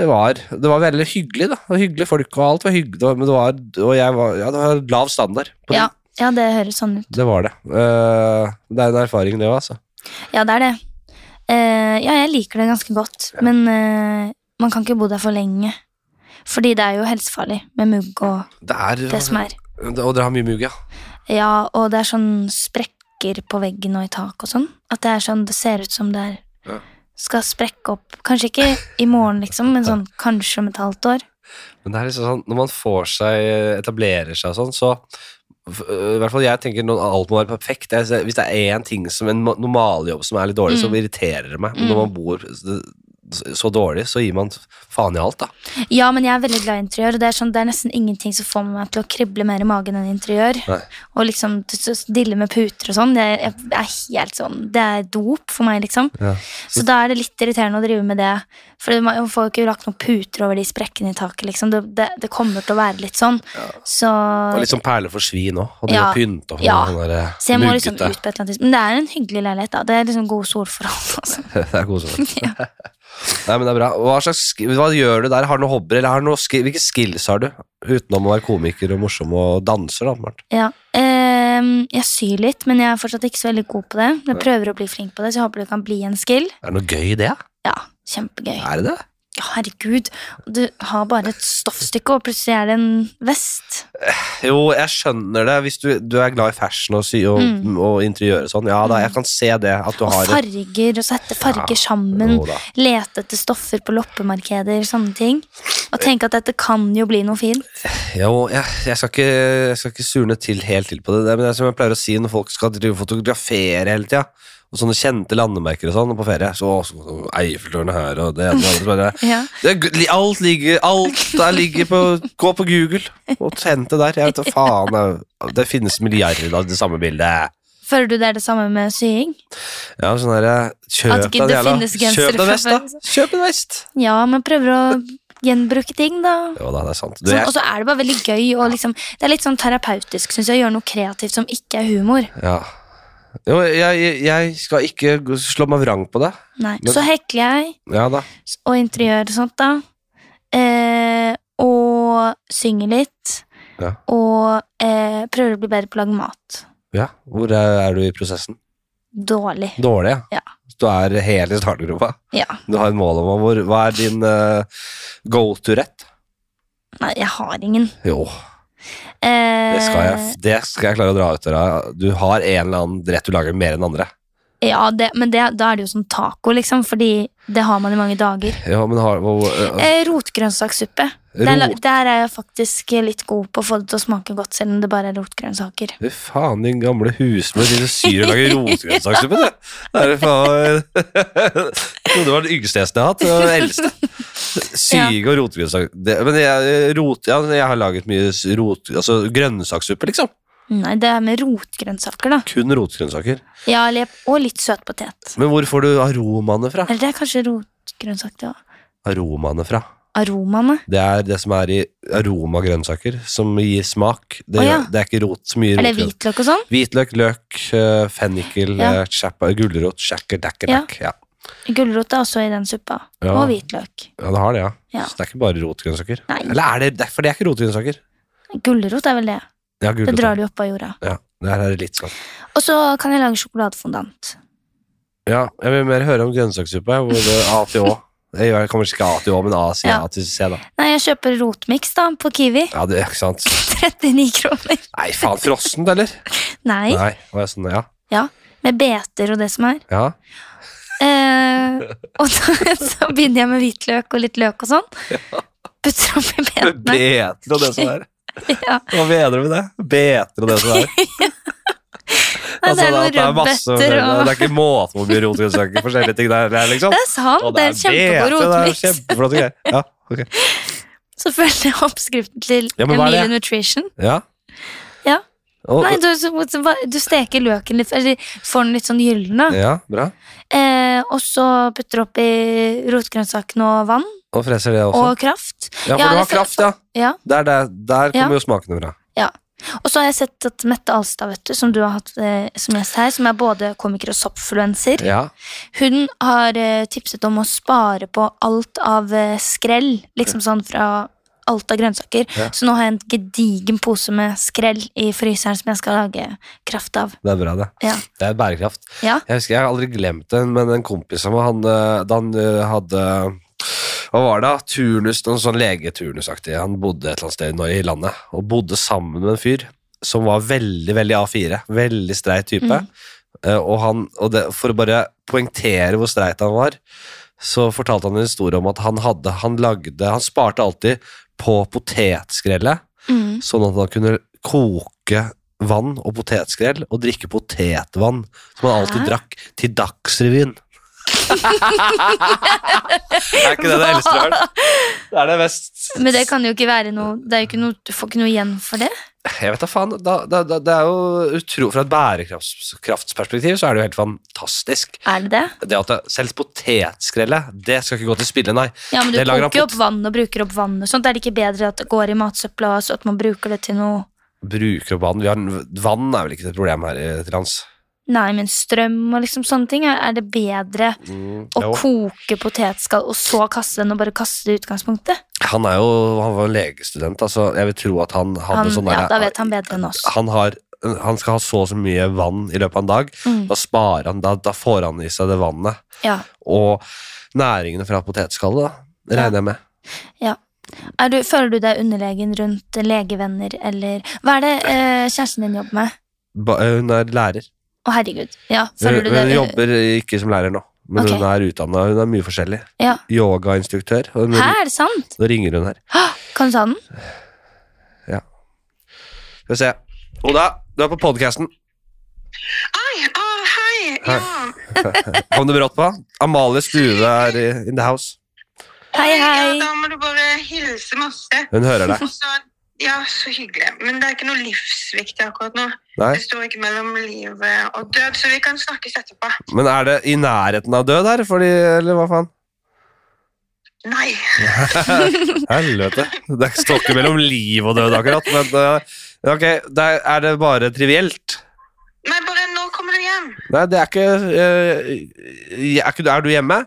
S1: Det var, det var veldig hyggelig, da. Og hyggelige folk og alt var hyggelig. Men det var, og jeg var, ja, det var lav standard. på
S2: Ja, ja det høres sånn ut.
S1: Det var det. Eh, det er en erfaring, det òg, altså.
S2: Ja, det er det. Eh, ja, jeg liker det ganske godt, men eh, man kan ikke bo der for lenge. Fordi det er jo helsefarlig med mugg og
S1: Det er,
S2: det som er.
S1: Og dere har mye mugg, ja.
S2: Ja, og det er sånn sprekker på veggen og i tak og sånn. At det er sånn, det ser ut som det er
S1: Ja.
S2: skal sprekke opp. Kanskje ikke i morgen, liksom, men sånn kanskje om et halvt år.
S1: Men det er liksom sånn, når man får seg, etablerer seg og sånn, så f- øh, i hvert fall jeg tenker når alt må være perfekt. Jeg ser- hvis det er én ting som en ma- normaljobb som er litt dårlig, så
S2: Mm.
S1: irriterer det meg. Men
S2: Mm.
S1: når man bor så, så dårlig, så gir man faen i alt, da.
S2: Ja, men jeg er veldig glad i interiør, og det er, sånn, det er nesten ingenting som får meg til å krible mer i magen enn interiør.
S1: Nei.
S2: Og liksom t- t- dille med puter og sånn. Jeg, jeg er helt sånn, Det er dop for meg, liksom.
S1: Ja.
S2: Så da er det litt irriterende å drive med det. For man får jo ikke lagt noen puter over de sprekkene i taket, liksom. Det, det, det kommer til å være litt sånn. Så,
S1: Og liksom perler for svin òg, og drive
S2: Ja.
S1: og pynte og
S2: Ja.
S1: sånn der,
S2: så jeg må liksom ut
S1: muggete.
S2: på et eller annet tidspunkt. Men det er en hyggelig leilighet, da. Det er liksom gode solforhold. Altså.
S1: Det er koselig. Nei, men det er bra. Hva, slags, sk- hva gjør du der? Har du noen hobbyer? Eller har du noen sk hvilke skills har du? Utenom å være komiker og morsom og danser, da. åpenbart.
S2: Ja. Ehm, jeg syr litt, men jeg er fortsatt ikke så veldig god på det. Jeg prøver å bli flink på det, så jeg håper det kan bli en skill.
S1: Er det noe gøy i det?
S2: Ja, kjempegøy.
S1: Er det det?
S2: Herregud, du har bare et stoffstykke, og plutselig er det en vest.
S1: Jo, jeg skjønner det. Hvis du, du er glad i fashion og, sy og,
S2: Mm.
S1: og interiør og sånn, ja da, jeg kan se det. At du
S2: Og
S1: har et-
S2: farger, og sette farger sammen.
S1: Jo da.
S2: Lete etter stoffer på loppemarkeder, sånne ting. Og tenke at dette kan jo bli noe fint.
S1: Jo, jeg, jeg, skal ikke, jeg skal ikke surne til helt til på det, det, men det er som jeg pleier å si når folk skal drive og fotografere hele tida, og sånne kjente landemerker og sånn på ferie, så, så, så Eiffeltårnet her og det ene og det andre, så bare
S2: Ja.
S1: Det, er g- alt ligger, alt der ligger på Gå på Google og hent det der. Jeg vet da faen. jeg- Det finnes milliarder av det samme bildet.
S2: Føler du det er det samme med sying?
S1: Ja, sånn der,
S2: At
S1: Kjøp
S2: ikke
S1: deg en
S2: det
S1: jævla
S2: finnes gensere
S1: Kjøp deg en
S2: fra
S1: vest, da!
S2: før, liksom.
S1: Kjøp en vest!
S2: Ja, men prøver å gjenbruke ting, da.
S1: Jo da, det er sant. Du,
S2: Sånn,
S1: jeg,
S2: og så er det bare veldig gøy. Og liksom, det er litt sånn terapeutisk, syns jeg, å gjøre noe kreativt som ikke er humor.
S1: ja. Jo, jeg, jeg- jeg skal ikke g- slå meg vrang på det.
S2: Nei.
S1: Men-
S2: Så hekler jeg.
S1: Ja da.
S2: og interiør og sånt, da. Eh, og synger litt.
S1: Ja.
S2: Og eh, prøver å bli bedre på å lage mat.
S1: Ja. Hvor er, er du i prosessen?
S2: Dårlig.
S1: Dårlig,
S2: Ja.
S1: Du er helt i startgropa.
S2: Ja.
S1: Du har et mål om å hvor, Hva er din eh, go-to-rett?
S2: Nei, jeg har ingen.
S1: Jo,
S2: Eh,
S1: Det skal, jeg, det skal jeg klare å dra ut av deg. Du har en eller annen rett du lager mer enn andre.
S2: Ja, det, men det, da er det jo som taco, liksom, fordi det har man i mange dager.
S1: Ja, men har, hvor, eh, øh,
S2: Eh, rotgrønnsakssuppe. Der, la-
S1: rot.
S2: der er jeg faktisk litt god på å få det til å smake godt, selv om det bare er rotgrønnsaker.
S1: Fy faen, din gamle husmor sitter og syr og lager rotgrønnsakssuppe, du. Det er det faen Trodde det var den yngste gjesten jeg har hatt. Det var den eldste. Syge og rotgrønnsak... Det, men jeg, eh, rot, ja, jeg har laget mye s- rot, altså grønnsakssuppe, liksom.
S2: Nei, det er med rotgrønnsaker, da.
S1: Kun rotgrønnsaker.
S2: Ja, eller- og litt søtpotet.
S1: Men hvor får du aromaene fra?
S2: Eller det er kanskje rotgrønnsak, det òg.
S1: Aromaene fra?
S2: Aromaene.
S1: Det er det som er i aromagrønnsaker, som gir smak. Det,
S2: Å,
S1: gjør-
S2: ja.
S1: det er ikke rot, så mye
S2: Er det
S1: rotgrønn-
S2: hvitløk og sånn?
S1: Hvitløk, løk, eh, fennikel,
S2: Ja.
S1: ja. chappa, gulrot, sjakker, dakker, dakk. Ja.
S2: Gulrot er også i den suppa.
S1: Ja.
S2: Og hvitløk.
S1: ja, det har det, ja.
S2: Ja.
S1: Så det er ikke bare rotgrønnsaker.
S2: Nei.
S1: Eller er det derfor det er ikke rotgrønnsaker?
S2: Gulrot er vel det.
S1: Ja, gulrot.
S2: Det drar du opp av jorda.
S1: Ja, det her er litt sånn.
S2: Og så kan jeg lage sjokoladefondant.
S1: Ja, jeg vil mer høre om grønnsakssuppe, hvor det er A til Å. Jeg kommer ikke A til Å, men A sier
S2: Ja.
S1: A til C, da.
S2: Nei, jeg kjøper rotmiks da, på Kiwi.
S1: Ja, det er ikke sant.
S2: 39 kroner.
S1: Nei, faen, frossent, eller?
S2: Nei,
S1: Nei, og jeg er sånn, ja.
S2: med beter og det som er.
S1: Ja,
S2: Eh, og da, så begynner jeg med hvitløk og litt løk og sånn. Putter oppi betene.
S1: Beter og det som er.
S2: Ja.
S1: Hva mener du med det? Beter og det som er.
S2: Nei, det
S1: Altså,
S2: er
S1: at
S2: noen
S1: det er masse-
S2: rødbeter og
S1: Det er ikke måte på hvor mye rot vi søker forskjellige ting der, liksom.
S2: Det er sant.
S1: Og
S2: Det er en kjempegod
S1: beter, Det er
S2: rotmiks.
S1: kjempeflotte greier. Ja, ok.
S2: Så følger jeg oppskriften til
S1: Ja, men hva er
S2: Emilie
S1: det?
S2: Nutrition.
S1: Ja.
S2: Ja.
S1: Og,
S2: Nei, du, så- så bare- du steker løken litt, eller får den litt sånn gyllen, da.
S1: ja, bra.
S2: Eh, og så putter du oppi rotgrønnsakene og vann
S1: Og freser det også.
S2: og kraft.
S1: ja, for
S2: ja,
S1: du har
S2: det-
S1: kraft, ja.
S2: Ja.
S1: Der, der, der kommer jo smakene fra.
S2: Og så har jeg sett at Mette Alstad, vet du, som du har hatt eh, som gjest her, som er både komiker og soppfluenser,
S1: Ja.
S2: hun har eh, tipset om å spare på alt av eh, skrell, liksom sånn fra alt av grønnsaker.
S1: Ja.
S2: Så nå har jeg en gedigen pose med skrell i fryseren som jeg skal lage kraft av.
S1: Det er bra, det.
S2: Ja.
S1: Det er bærekraft.
S2: Ja.
S1: Jeg husker, jeg har aldri glemt den, men en kompis av meg, han, eh, da han eh, hadde hva var det da? Turnus, noen sånn legeturnusaktig. Han bodde et eller annet sted i Norge, i landet, og bodde sammen med en fyr som var veldig, veldig A4. Veldig streit type.
S2: Mm.
S1: Eh, Og, han, og det, for å bare poengtere hvor streit han var, så fortalte han en historie om at han hadde, han lagde, han sparte alltid på potetskrellet,
S2: Mm.
S1: sånn at han kunne koke vann og potetskrell og drikke potetvann, som han alltid
S2: Hæ?
S1: drakk til Dagsrevyen. er ikke det det eldste du har hørt? Det er det mest
S2: Men det kan jo ikke være noe, det er jo ikke noe Du får ikke noe igjen for det.
S1: Jeg vet da faen. Da, da, da, det er jo utro... Fra et bærekraftsperspektiv så er det jo helt fantastisk.
S2: Er det det?
S1: Det at det, Selv potetskrellet, det skal ikke gå til spille, nei.
S2: Ja, men du
S1: Det lager
S2: koker jo
S1: rapport.
S2: opp vann og bruker opp vann og sånt. Er det ikke bedre at det går i matsøpla, så at man bruker det til noe
S1: Bruker opp vann. Vi har, vann er vel ikke et problem her i- til lands.
S2: Nei, men strøm og liksom sånne ting. Er er det bedre
S1: Mm,
S2: å
S1: jo.
S2: koke potetskall og så kaste den, og bare kaste det i utgangspunktet?
S1: Han er jo Han var jo legestudent, altså. Jeg vil tro at han hadde
S2: Han,
S1: sånn
S2: ja,
S1: derre- Ah.
S2: da vet han bedre enn oss.
S1: han har han skal ha så og så mye vann i løpet av en dag.
S2: Mm,
S1: Da sparer han, da, da får han i seg det vannet.
S2: ja.
S1: Og næringene fra potetskallet, da, regner jeg med.
S2: er du, føler du deg underlegen rundt legevenner, eller Hva er det eh, kjæresten din jobber med?
S1: Ba, eh, hun er lærer.
S2: Å, herregud. Ja, føler
S1: Hun,
S2: du deg
S1: hun jobber ikke som lærer nå, men
S2: Ok.
S1: hun er utdanna. Hun er mye forskjellig.
S2: Ja.
S1: Yogainstruktør. og Nå
S2: Hæ, er det sant?
S1: nå ringer hun her.
S2: Hå, Kan du ta den?
S1: Skal vi se. Oda, du er på podkasten.
S3: Ai, å, hei.
S1: Hei.
S3: Ja.
S1: Kom du brått på? Amalie Stuve er i- in the house.
S2: Hei,
S3: Ja,
S2: hei.
S3: da må du bare hilse masse.
S1: Hun hører deg.
S3: Og så- Ja, så hyggelig. Men det er ikke noe livsviktig akkurat nå.
S1: Nei.
S3: Det står ikke mellom liv eh, og død, så vi kan snakkes etterpå.
S1: Men er det i nærheten av død her? Fordi, eller hva faen?
S3: Nei.
S1: Helvete. Det står ikke mellom liv og død akkurat, men eh, ok, det er, er det bare trivielt?
S3: Nei, bare nå kommer du hjem.
S1: Nei, det er ikke, eh, er ikke Er du hjemme?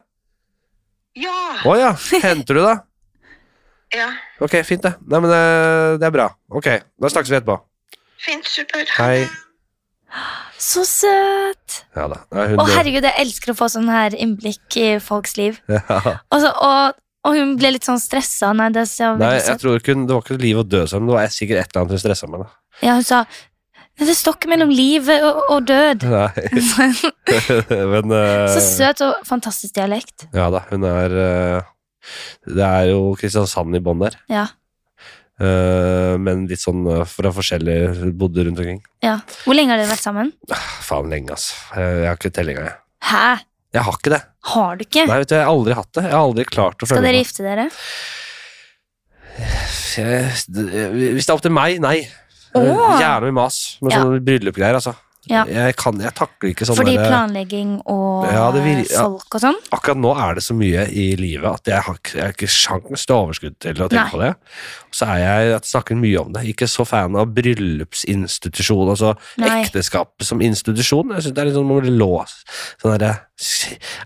S3: Ja.
S1: Å ja. Henter du, da?
S3: Ja.
S1: Ok, fint det. Nei, men eh, det er bra. Ok, da snakkes vi etterpå.
S3: Fint, supert.
S1: Hei.
S2: Så søt.
S1: Ja da. Nei, hun
S2: Å,
S1: dør.
S2: herregud, jeg elsker å få sånn her innblikk i folks liv.
S1: Ja.
S2: Og, så, og, og hun ble litt sånn stressa. Nei, det ser
S1: Nei,
S2: veldig
S1: jeg
S2: søtt.
S1: tror ikke hun, det var ikke liv og død sammen. Det var sikkert et eller annet hun stressa med. Da.
S2: Ja, hun sa «Nei, det står ikke mellom liv og, og død.
S1: Nei,
S2: så
S1: men eh,
S2: søt og fantastisk dialekt.
S1: Ja da, hun er eh, Det er jo Kristiansand i bånn der.
S2: Ja.
S1: Eh, men litt sånn eh, fra forskjellige Hun bodde rundt omkring. Ah,
S2: ja. Hvor lenge har dere vært sammen?
S1: Faen lenge, ass. Eh, Jeg har ikke tellinga, jeg.
S2: Hæ?
S1: Jeg har ikke det.
S2: Har du ikke?
S1: Nei, vet du, Jeg har aldri hatt det. Jeg Sånn har aldri klart å
S2: Skal
S1: følge
S2: dere
S1: med.
S2: gifte dere?
S1: Jeg- Hvis det er opp til meg, nei.
S2: Åh.
S1: Gjerne med mas, med
S2: Ja.
S1: sånne bryllupgreier, altså.
S2: Ja.
S1: Jeg, kan, jeg takler ikke sånn
S2: Fordi
S1: der-
S2: planlegging og
S1: Ja, det vir- ja.
S2: folk og sånn?
S1: Akkurat nå er det så mye i livet at jeg har, ikke- jeg har ikke sjans til overskudd til å tenke
S2: Nei.
S1: på det. Og så er jeg, jeg snakker mye om det. Ikke så fan av bryllupsinstitusjon, altså
S2: Nei.
S1: ekteskap som institusjon. Jeg synes det er litt sånn man blir låst. Sånn derre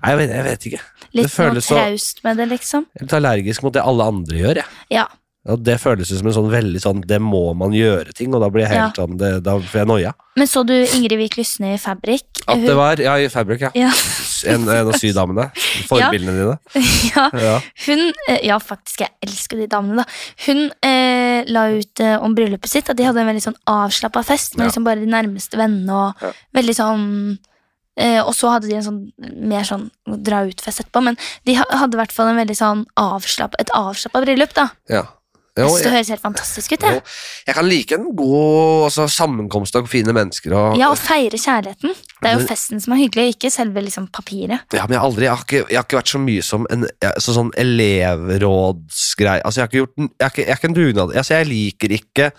S1: Nei, jeg vet, jeg vet ikke.
S2: Litt noe
S1: føles så-
S2: traust med det, liksom?
S1: Jeg er litt allergisk mot det alle andre gjør, jeg.
S2: Ja.
S1: Og det føles jo som en sånn veldig sånn Det må man gjøre ting, og da blir jeg helt sånn det, Da får jeg noia.
S2: Men så du Ingrid Wiik Lysne i Fabrik?
S1: At det var Ja, i Fabrik, ja.
S2: Ja.
S1: En, en av sydamene. Forbildene dine.
S2: ja.
S1: Ja.
S2: Hun, eh, ja faktisk, jeg elsker de damene da Hun eh, la ut eh, om bryllupet sitt At de hadde en veldig sånn avslappet fest Med
S1: Ja.
S2: liksom bare de nærmeste vennene Og
S1: Ja.
S2: veldig sånn Eh, og så hadde de en sånn mer sånn dra-ut-fest etterpå. Men de ha- hadde i hvert fall en veldig sånn avslapp, et avslappa bryllup. da
S1: Ja. Jo,
S2: Jeg synes Det
S1: jeg,
S2: høres helt fantastisk ut.
S1: jo,
S2: Jeg.
S1: jeg kan like en god altså, sammenkomst av fine mennesker. Og,
S2: Ja, Å feire kjærligheten. Det
S1: Men-
S2: er jo festen som er hyggelig, ikke selve liksom papiret.
S1: Ja, men jeg har aldri Jeg har ikke, jeg har ikke vært så mye som en jeg- så sånn elevrådsgreie. Altså, jeg har ikke gjort en- Jeg er ikke, jeg er ikke en dugnad. Altså, jeg liker ikke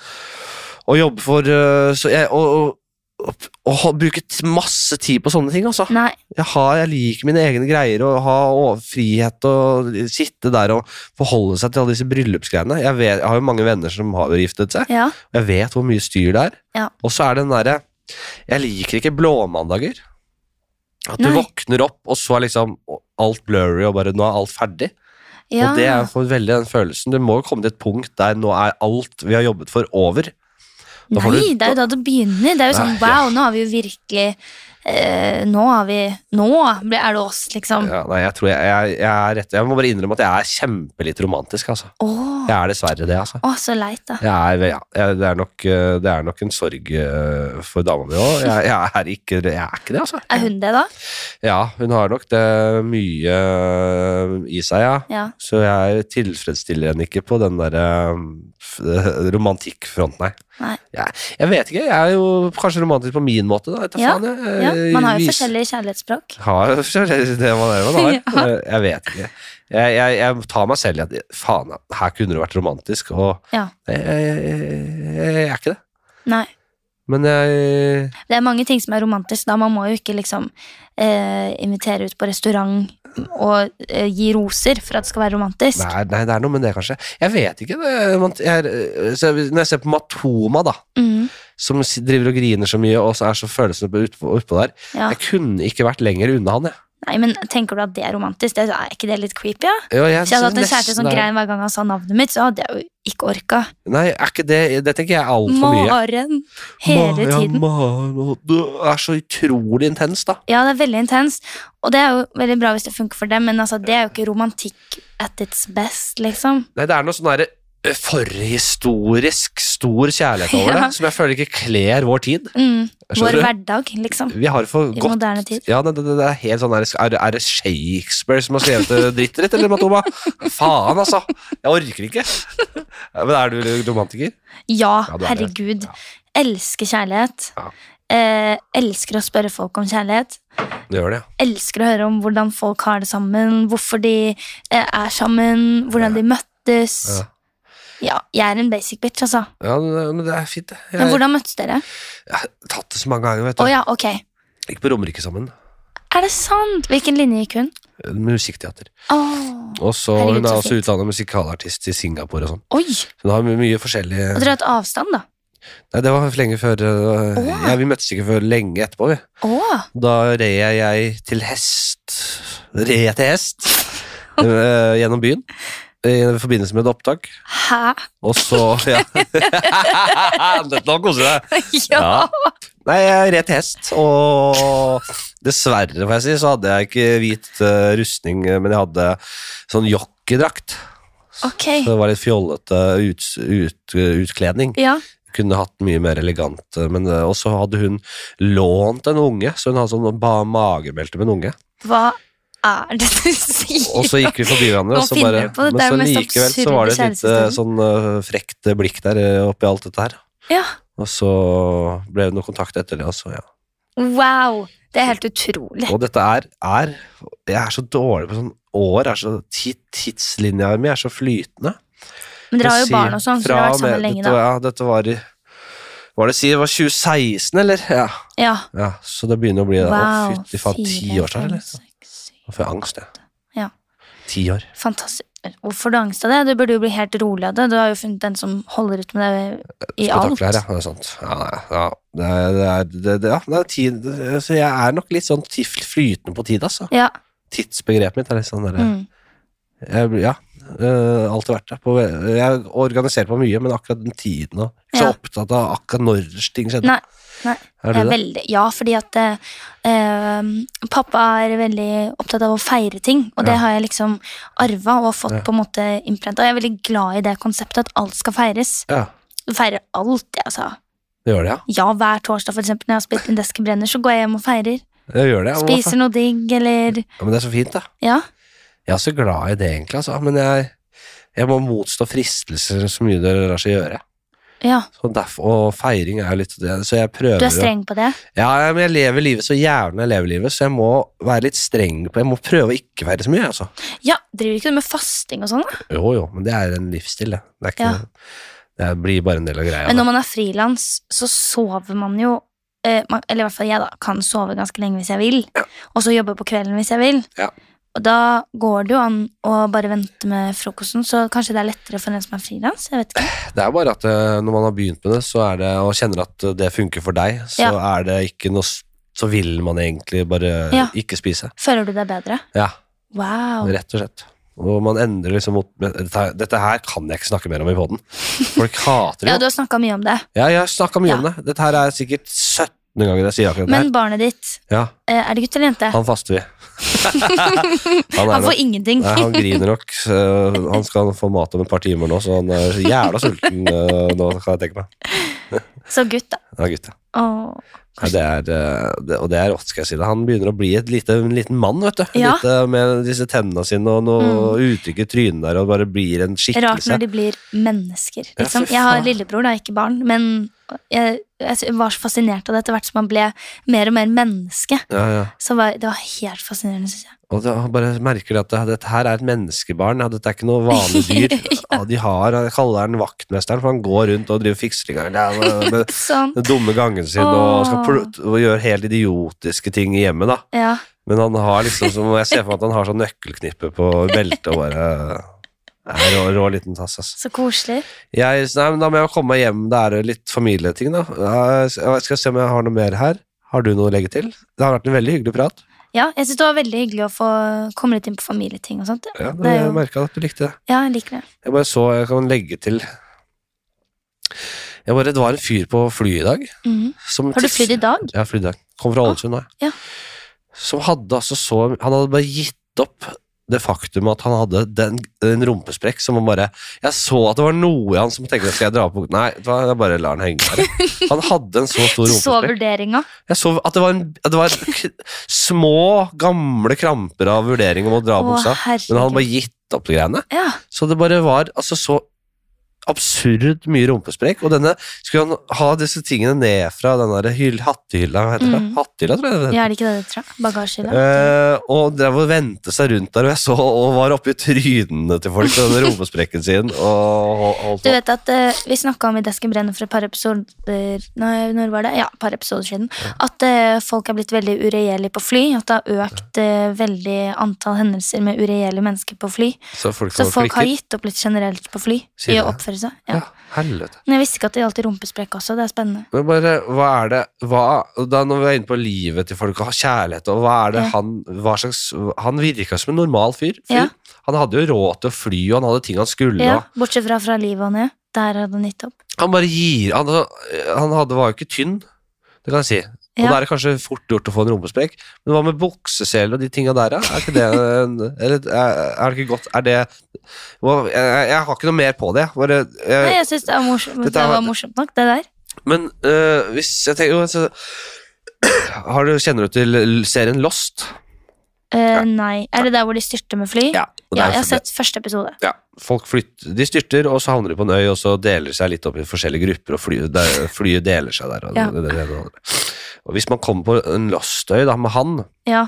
S1: å jobbe for øh, så jeg, og, og, og, og bruke t- masse tid på sånne ting, altså.
S2: Nei,
S1: Jeg, har, jeg liker mine egne greier og ha over- frihet og sitte der og forholde seg til alle disse bryllupsgreiene. Jeg, vet, jeg har jo mange venner som har giftet seg.
S2: ja.
S1: Jeg vet hvor mye styr det er.
S2: Ja.
S1: Og så er det den derre Jeg liker ikke blåmandager. At du
S2: Nei.
S1: våkner opp, og så er liksom alt blurry, og bare nå er alt ferdig.
S2: ja.
S1: Og det er for veldig den følelsen. Du må jo komme til et punkt der nå er alt vi har jobbet for, over. Da får
S2: Nei,
S1: du-
S2: det er jo da det begynner. Det er jo sånn,
S1: Nei, ja.
S2: wow, nå har vi jo virkelig eh, Nå har vi Nå ble- er det oss, liksom.
S1: Ja, nei, jeg tror jeg, jeg, jeg er rett Jeg må bare innrømme at jeg er kjempelitt romantisk, altså.
S2: Åh,
S1: Jeg er dessverre det, altså.
S2: Å, så leit, da.
S1: Jeg er, ja, jeg, det, er nok, eh, det er nok en sorg eh, for dama mi òg. Jeg, jeg, er ikke- jeg er ikke det, altså.
S2: Er hun det, da?
S1: Ja, hun har nok det mye eh, i seg, ja.
S2: Ja.
S1: Så jeg tilfredsstiller henne ikke på den der um, f- romantikkfronten, nei.
S2: Nei.
S1: Jeg, jeg vet ikke, jeg er jo kanskje romantisk på min måte, da. Etter
S2: Ja,
S1: faen, jeg, eh,
S2: ja. Man har jo
S1: Vis-
S2: forskjellige kjærlighetsspråk.
S1: Har jo forskjellig det man er, man har. Eh,
S2: Ja.
S1: Jeg vet ikke. Jeg, jeg, jeg tar meg selv i at faen, ja, her kunne det vært romantisk, og
S2: Ja.
S1: jeg, jeg, jeg, jeg er ikke det.
S2: Nei.
S1: Men jeg
S2: Det er mange ting som er romantisk. da Man må jo ikke liksom eh, invitere ut på restaurant og eh, gi roser for at det skal være romantisk.
S1: Nei, nei, det er noe med det, kanskje. Jeg vet ikke. Det, man, jeg, er- så jeg- når jeg ser på Matoma, da,
S2: Mm,
S1: som s- driver og griner så mye og så er så følelsene på- utpå utpå der
S2: ja.
S1: Jeg kunne ikke vært lenger unna han, jeg.
S2: Nei, men tenker du at det er romantisk? Det, er ikke det litt creepy? Ja?
S1: Jo, jeg
S2: Hvis jeg hadde hatt en
S1: synes
S2: kjæreste
S1: nesten
S2: som
S1: det er-
S2: grein hver gang han sa navnet mitt, så hadde jeg jo ikke orka.
S1: Nei, er ikke det Det tenker jeg er altfor mye.
S2: Maren. Hele
S1: Ma- ja,
S2: tiden.
S1: ma- og Det er så utrolig intens, da.
S2: Ja, det er veldig intenst. Og det er jo veldig bra hvis det funker for dem, men altså, det er jo ikke romantikk at its best, liksom.
S1: Nei, det er noe sånn derre ø, forhistorisk stor kjærlighet over
S2: Ja.
S1: det, som jeg føler ikke kler vår tid.
S2: Mm.
S1: Skjønner
S2: Vår
S1: du?
S2: hverdag, liksom.
S1: Vi har det for
S2: I
S1: godt
S2: moderne tid.
S1: Ja, det, det, det er helt sånn der, er, det- er det Shakespeare som har skrevet det drittet ditt, eller, Matoma? Faen, altså! Jeg orker ikke. Ja, Men er du romantiker?
S2: Ja,
S1: Ja, du er det.
S2: herregud.
S1: Ja.
S2: Elsker kjærlighet.
S1: Ja.
S2: Eh, elsker å spørre folk om kjærlighet.
S1: Du gjør det, ja.
S2: Elsker å høre om hvordan folk har det sammen, hvorfor de eh, er sammen, hvordan de møttes.
S1: Ja.
S2: Ja, jeg er en basic bitch, altså.
S1: Ja, men men det er fint, det.
S2: Men
S1: Jeg,
S2: hvordan møttes dere?
S1: jeg har tatt det så mange ganger, vet
S2: Å
S1: du.
S2: ja, ok.
S1: Gikk på Romerike sammen. eh,
S2: Er det sant? Hvilken linje gikk hun?
S1: Musikkteater.
S2: Åh,
S1: Og så
S2: Herregud,
S1: Hun er
S2: så
S1: også
S2: fint.
S1: utdannet musikalartist i Singapore og sånn.
S2: Oi!
S1: Så Hun har my- mye forskjellig
S2: Og dere har hatt avstand, da?
S1: Nei, det var lenge før ø,
S2: Åh.
S1: ja, Vi møttes ikke før lenge etterpå, vi.
S2: Åh,
S1: Da red jeg til hest Red jeg til hest eh, gjennom byen i forbindelse med et opptak.
S2: hæ?
S1: Og så ja. Nå koser du deg.
S2: Ja.
S1: Nei, jeg red til hest, og dessverre, får jeg si, så hadde jeg ikke hvit eh, rustning, eh, men jeg hadde sånn jockeydrakt.
S2: Ok.
S1: Så det var litt fjollete ut, ut, utkledning.
S2: Ja.
S1: Kunne hatt mye mer elegant. eh, Men, eh, og så hadde hun lånt en unge, så hun hadde sånn ba magebelte med en unge.
S2: Hva er det du sier?
S1: Og så gikk vi forbi hverandre,
S2: Hva
S1: og så
S2: finner
S1: bare,
S2: du på?
S1: men
S2: Dette er jo
S1: så
S2: mest
S1: likevel så
S2: absurde
S1: var det et lite
S2: kjærestehistorie.
S1: sånn eh, frekt blikk der eh, oppi alt dette her.
S2: Ja.
S1: Og så ble det noe kontakt etter det, altså. Ja.
S2: Wow! Det er helt utrolig.
S1: Og dette er, er Jeg er så dårlig på sånn år. Er så, ti- tidslinja mi er så flytende.
S2: Men dere har
S1: Det
S2: jo barn og sånn, så dere har vært
S1: fra og
S2: sammen
S1: med-
S2: lenge,
S1: dette,
S2: da.
S1: Ja, dette var i Hva var det å si? Det var 2016, eller? Ja.
S2: Ja.
S1: ja så det begynner å bli wow, Å,
S2: Wow.
S1: fytti faen, ti
S2: Fire,
S1: år siden, liksom. eller?
S2: fem, seks, syv.
S1: Nå får jeg angst, jeg.
S2: Ja.
S1: Ti år.
S2: Fantastisk. Hvorfor har du angst av det? Du burde jo bli helt rolig av det. Du har jo funnet den som holder ut med deg i alt.
S1: Spektakulær, ja. Det er sant. Ja, nei, ja, det er, det er, det, det, ja, det er ti, det, så jeg er nok litt sånn ti- flytende på tid, altså.
S2: Ja.
S1: Tidsbegrepet mitt er litt sånn derre
S2: Mm.
S1: Jeg, blir- ja, øh, alltid vært det. På, jeg organiserer på mye, men akkurat den tiden og ikke
S2: Ja.
S1: så opptatt av akkurat når ting skjedde.
S2: Nei, nei.
S1: Er
S2: Jeg
S1: du
S2: er
S1: det?
S2: Eh, veldig, ja, fordi at eh, eh, pappa er veldig opptatt av å feire ting, og det
S1: Ja.
S2: har jeg liksom arva og fått
S1: Ja.
S2: på en måte innprenta. Jeg er veldig glad i det konseptet at alt skal feires.
S1: Ja,
S2: Du feirer alt, jeg, altså.
S1: det gjør det, ja.
S2: Ja, hver torsdag for eksempel, når jeg har spilt Indeske Brenner, så går jeg hjem og feirer.
S1: Jeg gjør det. jeg, på en måte.
S2: Spiser noe digg, eller
S1: Ja, men det er så fint, da.
S2: Ja.
S1: Jeg er så glad i det, egentlig. Altså. Men jeg, jeg må motstå fristelser så mye det lar seg gjøre.
S2: ja.
S1: Så derfor, og feiring er jo litt det. Så jeg prøver
S2: Du er
S1: å-
S2: streng på det?
S1: Ja, ja, men jeg lever livet så gjerne jeg lever livet, så jeg må være litt streng på Jeg må prøve å ikke være så mye, altså.
S2: Ja. Driver ikke du med fasting og sånn? da?
S1: Jo, jo, men det er en livsstil, det. Det, er ikke,
S2: Ja.
S1: det blir bare en del av greia.
S2: Men
S1: da.
S2: når man er frilans, så sover man jo eh, man- Eller i hvert fall jeg, da. Kan sove ganske lenge hvis jeg vil. Og så jobbe på kvelden hvis jeg vil.
S1: Ja.
S2: Og da går det jo an å bare vente med frokosten, så kanskje det er lettere for en som er frilans. Jeg vet ikke.
S1: Det er bare at eh, når man har begynt med det, så er det, og kjenner at eh, det funker for deg, så er det ikke noe s- Så vil man egentlig bare
S2: Ja.
S1: ikke spise.
S2: Føler du deg bedre?
S1: Ja,
S2: Wow.
S1: rett og slett. Og man endrer liksom mot men Dette her- dette her kan jeg ikke snakke mer om i poden. Folk hater det.
S2: Ja,
S1: Ja,
S2: du har snakka mye om det.
S1: jeg har snakka mye
S2: Ja.
S1: om det. Dette her er sikkert 17. ganger jeg sier akkurat det her.
S2: Men barnet ditt,
S1: Ja,
S2: eh, er det gutt eller jente?
S1: han faster vi. han,
S2: Han
S1: er
S2: får
S1: nok,
S2: ingenting.
S1: nei, han griner nok. eh, han skal få mat om et par timer nå, så han er så jævla sulten eh, nå, kan jeg tenke meg.
S2: Så gutt, da.
S1: Ja, gutt, ja.
S2: Åh.
S1: Nei, det er, eh, det, og det er rått, skal jeg si det. Han begynner å bli et lite, en liten mann, vet du.
S2: Ja. Mm.
S1: Lite, med disse tennene sine og noe uttrykk i trynet der, og bare blir en
S2: Rart
S1: skikkelse.
S2: når de blir mennesker.
S1: Ja,
S2: Liksom.
S1: for
S2: Jeg har
S1: faen.
S2: lillebror, da, ikke barn, men jeg, jeg var så fascinert av det etter hvert som han ble mer og mer menneske.
S1: Ja, ja.
S2: Så var, Det var helt fascinerende, syns jeg.
S1: Og da bare merker du at det, dette her er et menneskebarn, ja, dette er ikke noe vanlig dyr. ja. De har, jeg kaller den vaktmesteren, for han går rundt og driver og fikser i gang ja, med, med
S2: Sånn.
S1: den dumme gangen sin og, skal pl- og gjør helt idiotiske ting i hjemmet, da.
S2: Ja.
S1: Men han har liksom, som jeg ser for meg at han har sånn nøkkelknippe på beltet og bare er rå, rå liten tass, ass.
S2: Så koselig.
S1: Jeg, nei, men da må jeg komme meg hjem. Det er litt familieting, da. Jeg skal se om jeg har noe mer her. Har du noe å legge til? Det har vært en veldig hyggelig prat.
S2: Ja, jeg syns det var veldig hyggelig å få komme litt inn på familieting og sånt.
S1: Ja, det,
S2: Det er jo-
S1: Jeg merka at du likte det.
S2: Ja, jeg liker det.
S1: Jeg bare så Jeg kan legge til jeg bare, Det var en fyr på flyet i dag.
S2: Mhm.
S1: Som
S2: Har du flydd i dag?
S1: Jeg har flydd i dag. Kom fra Ålesund nå,
S2: Ah, Ja.
S1: Som hadde altså så Han hadde bare gitt opp det faktum at han hadde den, en rumpesprekk som han bare Jeg så at det var noe i han som tenkte Skal jeg dra på Nei, vet du hva, jeg bare lar den henge der. Han hadde en så stor
S2: Du så
S1: rumpesprekk.
S2: vurderinga?
S1: Jeg så at det var, en, at det var k små, gamle kramper av vurdering om å dra
S2: Å,
S1: av buksa. Men han hadde
S2: herregud.
S1: bare gitt opp de greiene.
S2: Ja.
S1: Så det bare var altså så absurd mye rumpesprekk. Og denne skulle han ha disse tingene ned fra den der hyll, hattehylla, hva heter det?
S2: Mm.
S1: Hattehylla, tror jeg det heter.
S2: ja, er det ikke det det tror jeg? Bagasjehylle?
S1: Eh, og drev og vendte seg rundt der, og jeg så og var oppi trynene til folk med den rumpesprekken sin. Og, og, og
S2: Du vet at eh, Vi snakka om i Desken brenner for et par episoder Nei, når var det? Ja, et par episoder siden. At eh, folk er blitt veldig uregjerlige på fly. At det har økt eh, veldig antall hendelser med uregjerlige mennesker på fly.
S1: så folk,
S2: Så
S1: var
S2: folk har
S1: flikker.
S2: gitt opp litt generelt på fly.
S1: Sier
S2: I
S1: du
S2: å
S1: det?
S2: oppføre seg.
S1: Ja,
S2: Ja.
S1: helvete.
S2: Men jeg visste ikke at det gjaldt i rumpesprekk også. Det er spennende.
S1: Men bare, hva er det hva, da Når vi er inne på livet til folk og kjærlighet og hva er det
S2: Ja.
S1: han hva slags, Han virka som en normal fyr. fyr.
S2: Ja.
S1: Han hadde jo råd til å fly, og han hadde ting han skulle.
S2: Ja,
S1: og-
S2: Bortsett fra fra livet og ned. Der hadde han gitt opp.
S1: Han bare gir Han, han hadde, var jo ikke tynn, det kan jeg si. Og
S2: Ja.
S1: da er det kanskje fort gjort å få en rumpesprekk. Men hva med bukseseler og de tinga der, da? Er ikke det en- eller, er, er det ikke godt Er det hva- jeg, jeg har ikke noe mer på det. jeg. Bare,
S2: Nei,
S1: jeg,
S2: jeg syns det, er morsomt-
S1: Dette
S2: det
S1: er-
S2: var morsomt nok, det der.
S1: men øh, hvis jeg tenker jo, så, har du, Kjenner du til l- serien Lost?
S2: Eh, Nei. Er det der hvor de styrter med fly?
S1: og det
S2: Ja,
S1: er jo
S2: jeg har
S1: selvfølgelig-
S2: sett første episode.
S1: ja, folk flytter, de styrter, og så havner de på en øy, og så deler de seg litt opp i forskjellige grupper, og flyet, der, flyet deler seg der. Og,
S2: Ja.
S1: det, det, det, og det. og hvis man kommer på en lastøy da, med han,
S2: Ja.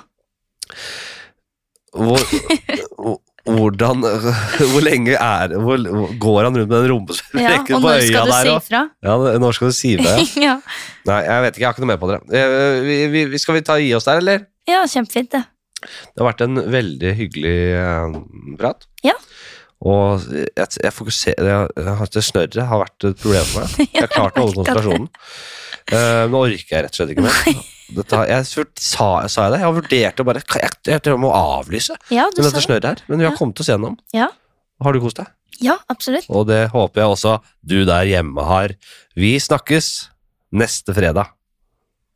S1: hvor, hvor- hvordan, hvor lenge er hvor, hvor går han rundt med den
S2: ja.
S1: rumpesprekken
S2: Og
S1: på
S2: når
S1: øya
S2: skal du
S1: der?
S2: si
S1: og-
S2: ifra?
S1: Ja, når skal du si det?
S2: ja.
S1: Nei, jeg vet ikke, jeg har ikke noe mer på dere. Eh, Vi, vi- vi, skal vi ta i oss der, eller?
S2: Ja, kjempefint det.
S1: Det har vært en veldig hyggelig eh, prat.
S2: Ja.
S1: Og jeg, jeg fokuserer jeg, jeg, Det snørret har vært et problem for meg. Jeg har klart å holde
S2: merker det.
S1: konsentrasjonen. Eh, nå orker jeg rett og slett ikke mer. Dette, har- jeg, svur- sa, sa jeg det? Jeg har vurdert å bare Jeg, jeg, jeg, tror jeg må avlyse
S2: Ja, du
S1: med
S2: sa
S1: dette
S2: det.
S1: snørret her, men vi har
S2: Ja.
S1: kommet oss gjennom.
S2: Ja.
S1: Har du kost deg?
S2: Ja, absolutt.
S1: Og det håper jeg også du der hjemme har. Vi snakkes neste fredag.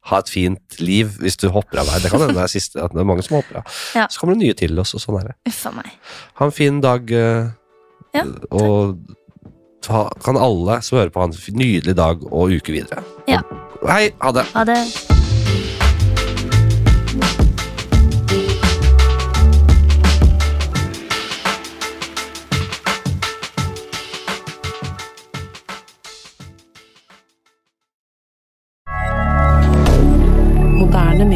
S1: Ha et fint liv hvis du hopper av her. Det kan hende det er siste, at det er mange som hopper av.
S2: Ja.
S1: Så kommer det nye til oss, og sånn er det.
S2: Uff a meg.
S1: Ha en fin dag. eh,
S2: Ja,
S1: og ta, kan alle som hører på, ha en f- nydelig dag og uke videre.
S2: Ja.
S1: Hei, ha det.
S2: Ha det.
S4: moderne